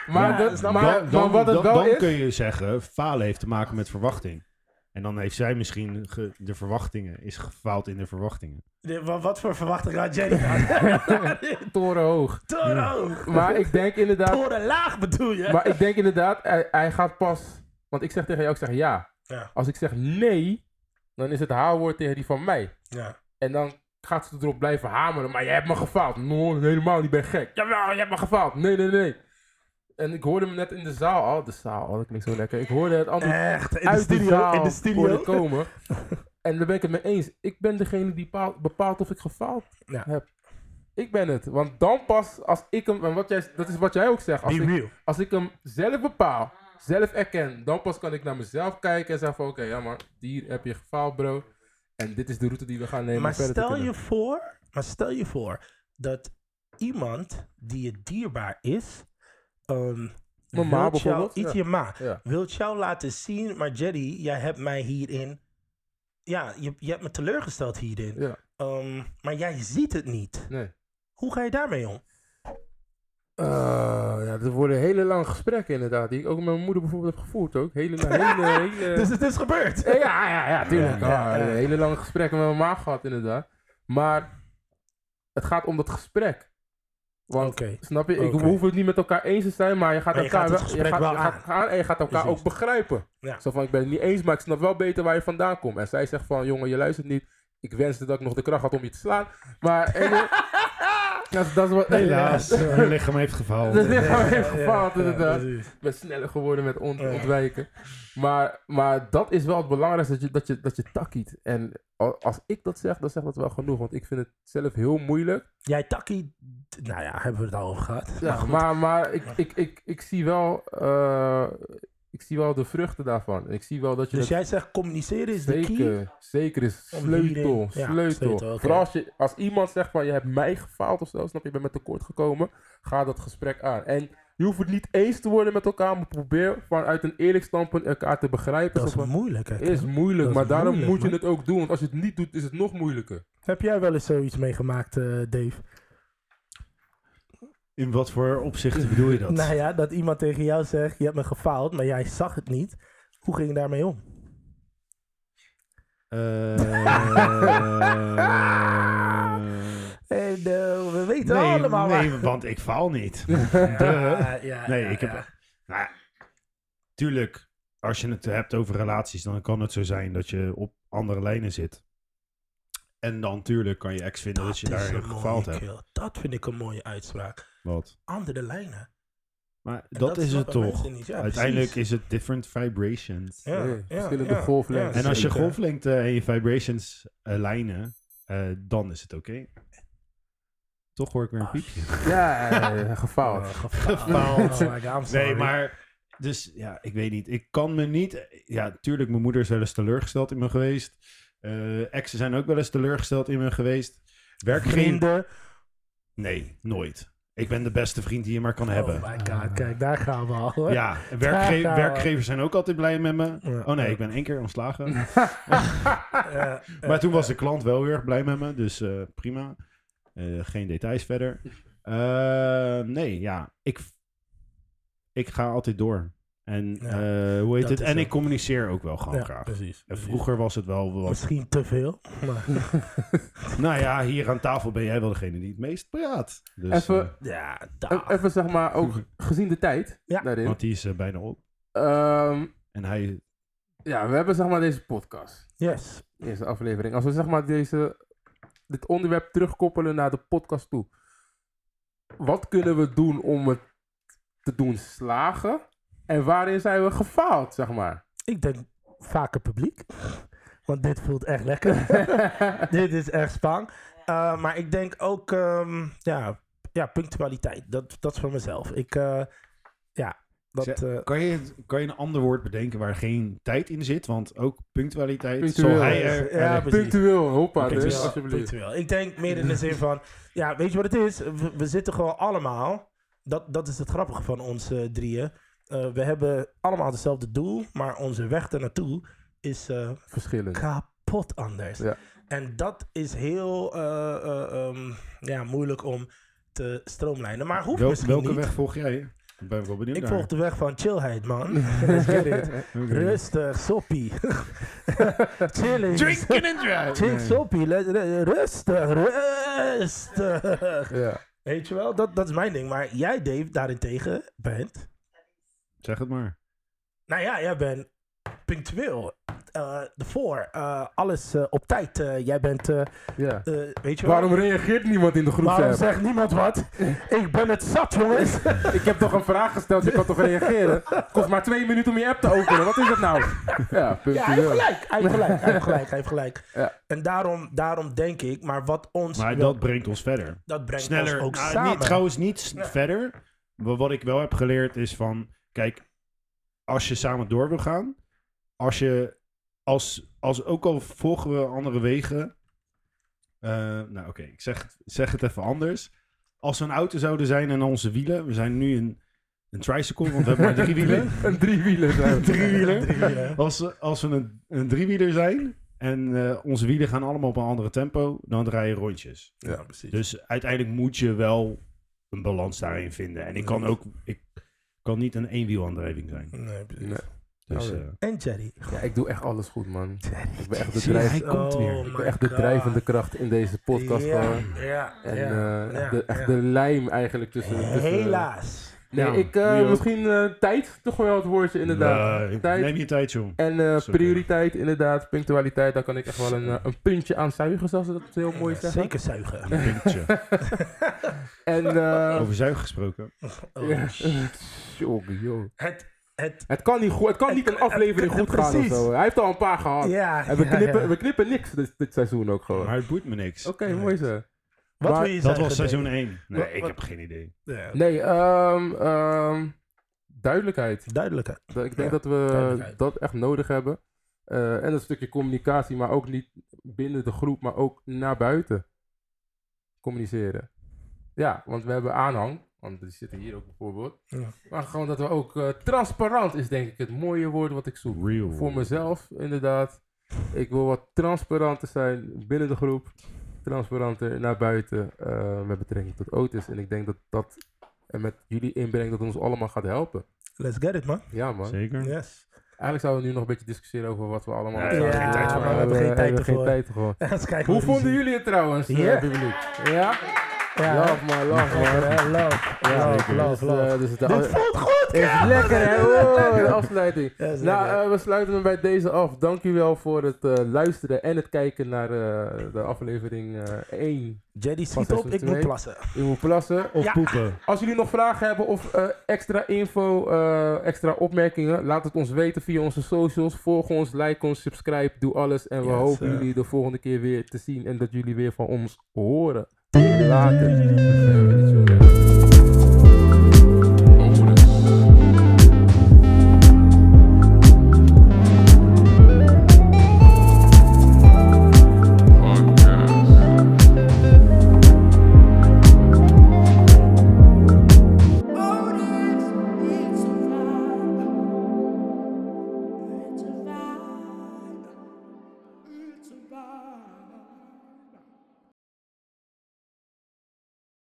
Speaker 2: Maar,
Speaker 1: Ja,
Speaker 2: dat,
Speaker 1: snap
Speaker 2: maar,
Speaker 1: je?
Speaker 2: maar wat het
Speaker 3: dan,
Speaker 2: wel
Speaker 3: dan
Speaker 2: is...
Speaker 3: kun je zeggen, falen heeft te maken met verwachting. En dan heeft zij misschien ge- de verwachtingen, is gefaald in de verwachtingen.
Speaker 1: De- wa- wat voor verwachting had jij dan?
Speaker 2: torenhoog.
Speaker 1: Toren hoog.
Speaker 2: Maar ik denk inderdaad...
Speaker 1: Toren laag bedoel je?
Speaker 2: Maar ik denk inderdaad, hij, hij gaat pas... Want ik zeg tegen jou, ik zeg ja.
Speaker 1: Ja.
Speaker 2: Als ik zeg nee, dan is het haar woord tegen die van mij.
Speaker 1: ja.
Speaker 2: En dan gaat ze erop blijven hameren. Maar jij hebt me gefaald. No, helemaal niet. Ik ben gek. Jawel, je hebt me gefaald. Nee, nee, nee. En ik hoorde hem net in de zaal. Oh, de zaal. Oh, dat klinkt zo lekker. Ik hoorde het antwoord
Speaker 1: Echt, in de
Speaker 2: uit de,
Speaker 1: studio.
Speaker 2: zaal
Speaker 1: In de
Speaker 2: hoorde
Speaker 1: studio.
Speaker 2: komen. en daar ben ik het mee eens. Ik ben degene die bepaalt, bepaalt of ik gefaald
Speaker 1: Ja.
Speaker 2: heb. Ik ben het. Want dan pas als ik hem... En wat jij, dat is wat jij ook zegt. Als
Speaker 1: Be
Speaker 2: ik,
Speaker 1: real.
Speaker 2: als ik hem zelf bepaal, zelf erken, dan pas kan ik naar mezelf kijken en zeggen van oké, ja maar hier heb je gefaald bro. En dit is de route die we gaan nemen.
Speaker 1: Maar
Speaker 2: om verder te
Speaker 1: stel
Speaker 2: kunnen.
Speaker 1: je voor, maar stel je voor dat iemand die je dierbaar is, ehm
Speaker 2: Mijn ma
Speaker 1: wilt
Speaker 2: bijvoorbeeld,
Speaker 1: Jou, iets
Speaker 2: ja.
Speaker 1: je ma,
Speaker 2: Ja.
Speaker 1: wilt jou laten zien, maar Jerry, jij hebt mij hierin, ja, je, je hebt me teleurgesteld hierin.
Speaker 2: Ja.
Speaker 1: Ehm, maar jij ziet het niet.
Speaker 2: Nee.
Speaker 1: Hoe ga je daarmee om?
Speaker 2: Eh, ja, dat worden hele lange gesprekken inderdaad, die ik ook met mijn moeder bijvoorbeeld heb gevoerd ook. Hele, hele, hele...
Speaker 1: Dus het is gebeurd.
Speaker 2: Eh, ja, ja, ja, tuurlijk.
Speaker 1: Ja, ja,
Speaker 2: Ah,
Speaker 1: ja.
Speaker 2: Hele lange gesprekken met mijn ma gehad inderdaad. Maar het gaat om dat gesprek. Want,
Speaker 1: Oké.
Speaker 2: snap je, ik,
Speaker 1: Oké.
Speaker 2: we hoeven het niet met elkaar eens te zijn, maar je gaat
Speaker 1: Maar je
Speaker 2: elkaar
Speaker 1: gaat het
Speaker 2: wel,
Speaker 1: gesprek
Speaker 2: je gaat,
Speaker 1: wel
Speaker 2: je gaat gaan en je gaat elkaar
Speaker 1: Precies.
Speaker 2: ook begrijpen.
Speaker 1: Ja.
Speaker 2: Zo van, ik ben het niet eens, maar ik snap wel beter waar je vandaan komt. En zij zegt van, jongen, je luistert niet. Ik wenste dat ik nog de kracht had om je te slaan. Maar, en, dat, is- dat is wat...
Speaker 3: Helaas, eh, mijn lichaam heeft gefaald.
Speaker 2: Dat lichaam heeft gefaald,
Speaker 1: Ja, ja,
Speaker 2: inderdaad.
Speaker 1: precies.
Speaker 2: Ik ben sneller geworden met ont-
Speaker 1: Ja.
Speaker 2: ontwijken. Maar, maar dat is wel het belangrijkste, dat je, dat je, dat je takkiet. En a- als ik dat zeg, dan zegt dat wel genoeg. Want ik vind het zelf heel moeilijk.
Speaker 1: Jij takkie nou ja, hebben we het al over gehad. Nou,
Speaker 2: Ja,
Speaker 1: goed.
Speaker 2: maar, maar ik, ik, ik, ik zie wel... eh, ik zie wel de vruchten daarvan. Ik zie wel dat je
Speaker 1: dus
Speaker 2: dat
Speaker 1: jij zegt communiceren is de key?
Speaker 2: Zeker, zeker is
Speaker 1: Om
Speaker 2: sleutel.
Speaker 1: hierin- ja,
Speaker 2: sleutel.
Speaker 1: sleutel, oké.
Speaker 2: Vooral als, je, als iemand zegt van je hebt mij gefaald of zo, snap je, je bent met tekort gekomen, ga dat gesprek aan. En je hoeft het niet eens te worden met elkaar, maar probeer vanuit een eerlijk standpunt elkaar te begrijpen.
Speaker 1: Dat is
Speaker 2: Zo van,
Speaker 1: moeilijk. hè,
Speaker 2: is
Speaker 1: Tim?
Speaker 2: moeilijk,
Speaker 1: Dat
Speaker 2: maar
Speaker 1: is
Speaker 2: daarom
Speaker 1: moeilijk,
Speaker 2: moet je
Speaker 1: man.
Speaker 2: het ook doen, want als je het niet doet, is het nog moeilijker.
Speaker 1: Heb jij wel eens zoiets meegemaakt, eh, Dave?
Speaker 3: In wat voor opzichten bedoel je dat?
Speaker 1: Nou ja, dat iemand tegen jou zegt, je hebt me gefaald, maar jij zag het niet. Hoe ging je daarmee om?
Speaker 3: Eh,
Speaker 1: En, eh, we weten
Speaker 3: nee,
Speaker 1: allemaal waar-
Speaker 3: nee, want ik faal niet.
Speaker 1: Ja, ja,
Speaker 3: Nee,
Speaker 1: ja,
Speaker 3: ik heb.
Speaker 1: ja.
Speaker 3: Nou ja, tuurlijk, als je het hebt over relaties, dan kan het zo zijn dat je op andere lijnen zit. En dan tuurlijk kan je ex vinden dat, je
Speaker 1: is
Speaker 3: daarin
Speaker 1: een mooie
Speaker 3: gefaald hebt.
Speaker 1: kill. Dat vind ik een mooie uitspraak.
Speaker 3: Wat?
Speaker 1: Andere lijnen.
Speaker 3: Maar
Speaker 1: En
Speaker 3: dat, is het
Speaker 1: snappen
Speaker 3: toch.
Speaker 1: mensen niet. Ja,
Speaker 3: Uiteindelijk
Speaker 1: precies.
Speaker 3: is het different vibrations.
Speaker 1: Ja,
Speaker 2: Nee,
Speaker 1: ja,
Speaker 2: verschillende
Speaker 1: ja,
Speaker 2: golflengtes.
Speaker 1: ja,
Speaker 3: en als je
Speaker 1: zeker.
Speaker 3: golflengte en je vibrations eh, lijnen, eh, dan is het oké. Toch hoor ik weer een
Speaker 1: Ah,
Speaker 3: piepje.
Speaker 2: Ja, eh, gefaald.
Speaker 1: Oh, gefaald.
Speaker 3: Gefaald.
Speaker 1: Oh my God, I'm
Speaker 3: Nee,
Speaker 1: sorry.
Speaker 3: maar. Dus ja, ik weet niet. Ik kan me niet. Ja, tuurlijk, mijn moeder is wel eens teleurgesteld in me geweest. Eh, exen zijn ook wel eens teleurgesteld in me geweest. Werk geen.
Speaker 1: Vrienden.
Speaker 3: Nee, nooit. Ik ben de beste vriend die je maar kan hebben.
Speaker 1: Oh my god, kijk, daar gaan we al. hoor.
Speaker 3: Ja, werkge-
Speaker 1: Ja.
Speaker 3: werkgevers zijn ook altijd blij met me.
Speaker 1: Ja.
Speaker 3: Oh nee, ik ben één keer ontslagen.
Speaker 1: Eh,
Speaker 3: Maar toen was de klant wel heel erg blij met me, dus eh, prima. Eh, geen details verder. Eh, nee, ja, ik, ik ga altijd door. En
Speaker 1: Ja,
Speaker 3: eh, hoe heet
Speaker 1: dat
Speaker 3: het?
Speaker 1: is
Speaker 3: En
Speaker 1: zo.
Speaker 3: ik communiceer ook wel gewoon
Speaker 1: ja,
Speaker 3: graag.
Speaker 1: precies.
Speaker 3: En
Speaker 1: precies.
Speaker 3: vroeger was het wel wat.
Speaker 1: Misschien te veel. Maar,
Speaker 3: Nou ja, hier aan tafel ben jij wel degene die het meest praat. Dus,
Speaker 2: Even-
Speaker 3: eh,
Speaker 1: ja,
Speaker 2: E-
Speaker 1: daar.
Speaker 2: Even zeg maar, ook gezien de tijd
Speaker 1: Ja.
Speaker 2: daarin.
Speaker 3: want die is eh, bijna op.
Speaker 2: Ehm,
Speaker 3: En hij.
Speaker 2: ja, we hebben zeg maar deze podcast.
Speaker 1: Yes.
Speaker 2: eerste aflevering. Als we zeg maar deze, dit onderwerp terugkoppelen naar de podcast toe. Wat kunnen we doen om het te doen slagen? En waarin zijn we gefaald, zeg maar?
Speaker 1: Ik denk vaker publiek. Want dit voelt echt lekker. dit is echt spang. Eh, maar ik denk ook, ehm, ja, ja, punctualiteit. Dat, dat is van mezelf. Ik, eh, ja, dat... eh,
Speaker 3: Kan je, kan je een ander woord bedenken waar geen tijd in zit? Want ook punctualiteit.
Speaker 2: Punctueel.
Speaker 3: Zal hij er.
Speaker 1: Ja, precies.
Speaker 2: punctueel, hoppa.
Speaker 3: Oké,
Speaker 2: dus,
Speaker 3: dus-
Speaker 2: alsjeblieft.
Speaker 1: Punctueel. Ik denk meer in de zin van, ja, weet je wat het is? We, we zitten gewoon allemaal, dat, dat is het grappige van ons eh, drieën. Eh, we hebben allemaal hetzelfde doel, maar onze weg ernaartoe is eh,
Speaker 2: Verschillend.
Speaker 1: kapot anders.
Speaker 2: Ja.
Speaker 1: En dat is heel eh, eh, ehm, ja, moeilijk om te stroomlijnen. Maar hoeft
Speaker 3: Wel-
Speaker 1: misschien
Speaker 3: welke
Speaker 1: niet.
Speaker 3: weg volg jij? Ik ben wel benieuwd
Speaker 1: Ik
Speaker 3: naar.
Speaker 1: volg de weg van chillheid, man. Let's get it.
Speaker 3: Oké.
Speaker 1: Rustig, soppie. Chilling.
Speaker 3: Drinking and drive.
Speaker 1: Chill, soppie. le- le- Rustig, rustig.
Speaker 2: Ja.
Speaker 1: Weet je wel, dat, dat is mijn ding. Maar jij, Dave, daarentegen bent...
Speaker 3: Zeg het maar.
Speaker 1: Nou ja, jij bent punctueel. Eh, Ervoor. eh, alles eh, op tijd. Eh, jij bent... eh,
Speaker 2: ja.
Speaker 1: eh, weet je wel...
Speaker 2: Waarom reageert niemand in de groep?
Speaker 1: Waarom
Speaker 2: Sam?
Speaker 1: zegt niemand wat? Ik ben het zat, jongens.
Speaker 2: Ik heb toch een vraag gesteld, je kan toch reageren? Het kost maar twee minuten om je app te openen, wat is dat nou? Ja,
Speaker 1: Ja, hij heeft
Speaker 2: punctueel.
Speaker 1: gelijk. Hij heeft gelijk. Hij heeft gelijk. Hij heeft gelijk.
Speaker 2: Ja.
Speaker 1: En daarom, daarom denk ik, maar wat ons...
Speaker 3: Maar
Speaker 1: wel-
Speaker 3: dat brengt ons verder.
Speaker 1: dat brengt
Speaker 3: Sneller.
Speaker 1: ons ook
Speaker 3: nou,
Speaker 1: samen.
Speaker 3: Niet, trouwens, niet s- verder. Maar wat ik wel heb geleerd is van... Kijk, als je samen door wil gaan... Als je... Als, als ook al volgen we andere wegen... eh, nou oké, ik zeg, het- zeg het even anders. Als we een auto zouden zijn en onze wielen... We zijn nu een, een tricycle, want we hebben maar drie wielen.
Speaker 2: Een driewieler. zijn we.
Speaker 3: Driewieler.
Speaker 1: Driewieler.
Speaker 3: Als, we- als we een, een driewieler zijn... En eh, onze wielen gaan allemaal op een andere tempo... Dan draai je rondjes.
Speaker 1: Ja, precies.
Speaker 3: Dus uiteindelijk moet je wel een balans daarin vinden. En ik kan ook, ik kan niet een eenwielaandrijving zijn.
Speaker 1: Nee, precies.
Speaker 2: Nee.
Speaker 3: Dus,
Speaker 2: Oké.
Speaker 3: eh,
Speaker 1: En Jerry.
Speaker 2: Ja, ik doe echt alles goed, man. Ik ben echt de
Speaker 3: Zie je,
Speaker 2: drijf...
Speaker 3: hij komt weer.
Speaker 1: Oh
Speaker 2: Ik
Speaker 1: my
Speaker 2: ben echt de
Speaker 1: God.
Speaker 2: drijvende kracht in deze podcast
Speaker 1: Ja,
Speaker 2: gewoon.
Speaker 1: Ja,
Speaker 2: En
Speaker 1: ja,
Speaker 2: eh, dus,
Speaker 1: ja,
Speaker 2: echt, de, echt
Speaker 1: ja.
Speaker 2: de lijm eigenlijk tussen... tussen- eh,
Speaker 1: Helaas.
Speaker 2: Nee,
Speaker 3: Nou,
Speaker 2: ik, eh,
Speaker 3: nu ook.
Speaker 2: misschien eh, tijd, toch wel het woordje inderdaad.
Speaker 3: eh,
Speaker 2: tijd
Speaker 3: Neem je tijd, jong.
Speaker 2: en eh,
Speaker 3: Is oké.
Speaker 2: prioriteit inderdaad, punctualiteit, daar kan ik echt wel een, eh, een puntje aan zuigen, zoals ze dat heel mooi zeggen.
Speaker 1: Zeker zuigen.
Speaker 3: Een puntje.
Speaker 2: En, eh,
Speaker 3: Over zuig gesproken.
Speaker 1: Oh,
Speaker 2: ja.
Speaker 1: shit.
Speaker 2: Jongen, joh.
Speaker 1: Het, het,
Speaker 2: Het kan niet, goed, het kan niet een
Speaker 1: het-
Speaker 2: aflevering
Speaker 1: het-
Speaker 2: goed gaan of
Speaker 1: precies.
Speaker 2: zo. Hij heeft al een paar gehad.
Speaker 1: ja.
Speaker 2: Ah, En we
Speaker 1: ja,
Speaker 2: knippen,
Speaker 1: ja.
Speaker 2: we knippen niks dit, dit seizoen Oh. ook gewoon.
Speaker 3: Maar
Speaker 2: Oké,
Speaker 3: het boeit me niks.
Speaker 2: mooi zo.
Speaker 1: Wat
Speaker 2: Maar-
Speaker 1: wil je
Speaker 3: Dat
Speaker 1: zeggen?
Speaker 3: was seizoen
Speaker 1: Dave?
Speaker 3: 1. Nee,
Speaker 1: Wat-
Speaker 3: ik
Speaker 1: wat-
Speaker 3: heb geen idee.
Speaker 1: Ja.
Speaker 2: Nee, ehm, ehm, duidelijkheid.
Speaker 1: Duidelijkheid.
Speaker 2: Eh, Ik denk
Speaker 1: Ja,
Speaker 2: dat we
Speaker 1: duidelijkheid.
Speaker 2: dat echt nodig hebben. Eh, en een stukje communicatie, maar ook niet binnen de groep, maar ook naar buiten communiceren. Ja, want we hebben aanhang, want die zitten hier ook bijvoorbeeld.
Speaker 1: Ja.
Speaker 2: Maar gewoon dat we ook eh, transparant is, denk ik, het mooie woord wat ik zoek.
Speaker 3: Real.
Speaker 2: Voor mezelf, inderdaad. Ik wil wat transparanter zijn binnen de groep. Transparanter naar buiten eh, met betrekking tot Otis. En ik denk dat dat, en met jullie inbreng, dat ons allemaal gaat helpen.
Speaker 1: Let's get it, man.
Speaker 2: Ja, man.
Speaker 3: Zeker.
Speaker 1: Yes.
Speaker 2: Eigenlijk zouden we nu nog een beetje discussiëren over wat we allemaal...
Speaker 3: Nee, we hebben geen tijd voor.
Speaker 2: maar
Speaker 3: We
Speaker 1: hebben geen tijd
Speaker 2: hebben
Speaker 1: ervoor.
Speaker 2: tijd ervoor.
Speaker 1: Eens kijken
Speaker 2: Hoe
Speaker 1: wat hij
Speaker 2: vonden
Speaker 1: ziet.
Speaker 2: jullie het trouwens, eh,
Speaker 1: Ja.
Speaker 2: publiek? Ja?
Speaker 1: Ja,
Speaker 2: Love, man, love, man.
Speaker 1: Lekker, hè? Love,
Speaker 2: Ja,
Speaker 1: love,
Speaker 2: zeker.
Speaker 1: love,
Speaker 2: Dus, eh,
Speaker 1: love.
Speaker 2: dus het
Speaker 1: Dit voelt goed,
Speaker 2: is
Speaker 1: Kevin.
Speaker 2: lekker, hè? Oh, de afsluiting.
Speaker 1: Ja, is
Speaker 2: Nou,
Speaker 1: lekker.
Speaker 2: eh, we sluiten hem bij deze af. Dankjewel voor het eh, luisteren en het kijken naar eh, de aflevering eh 1
Speaker 1: Jedi, schiet
Speaker 2: pas
Speaker 1: op. Ik moet
Speaker 2: twee.
Speaker 1: plassen.
Speaker 2: in Moet Plassen.
Speaker 3: Of
Speaker 1: Ja.
Speaker 3: poepen.
Speaker 2: Als jullie nog vragen hebben of eh, extra info, eh, extra opmerkingen, laat het ons weten via onze socials. Volg ons, like ons, subscribe, doe alles. En we
Speaker 1: Yes,
Speaker 2: hopen
Speaker 1: sir.
Speaker 2: jullie de volgende keer weer te zien en dat jullie weer van ons horen. Later.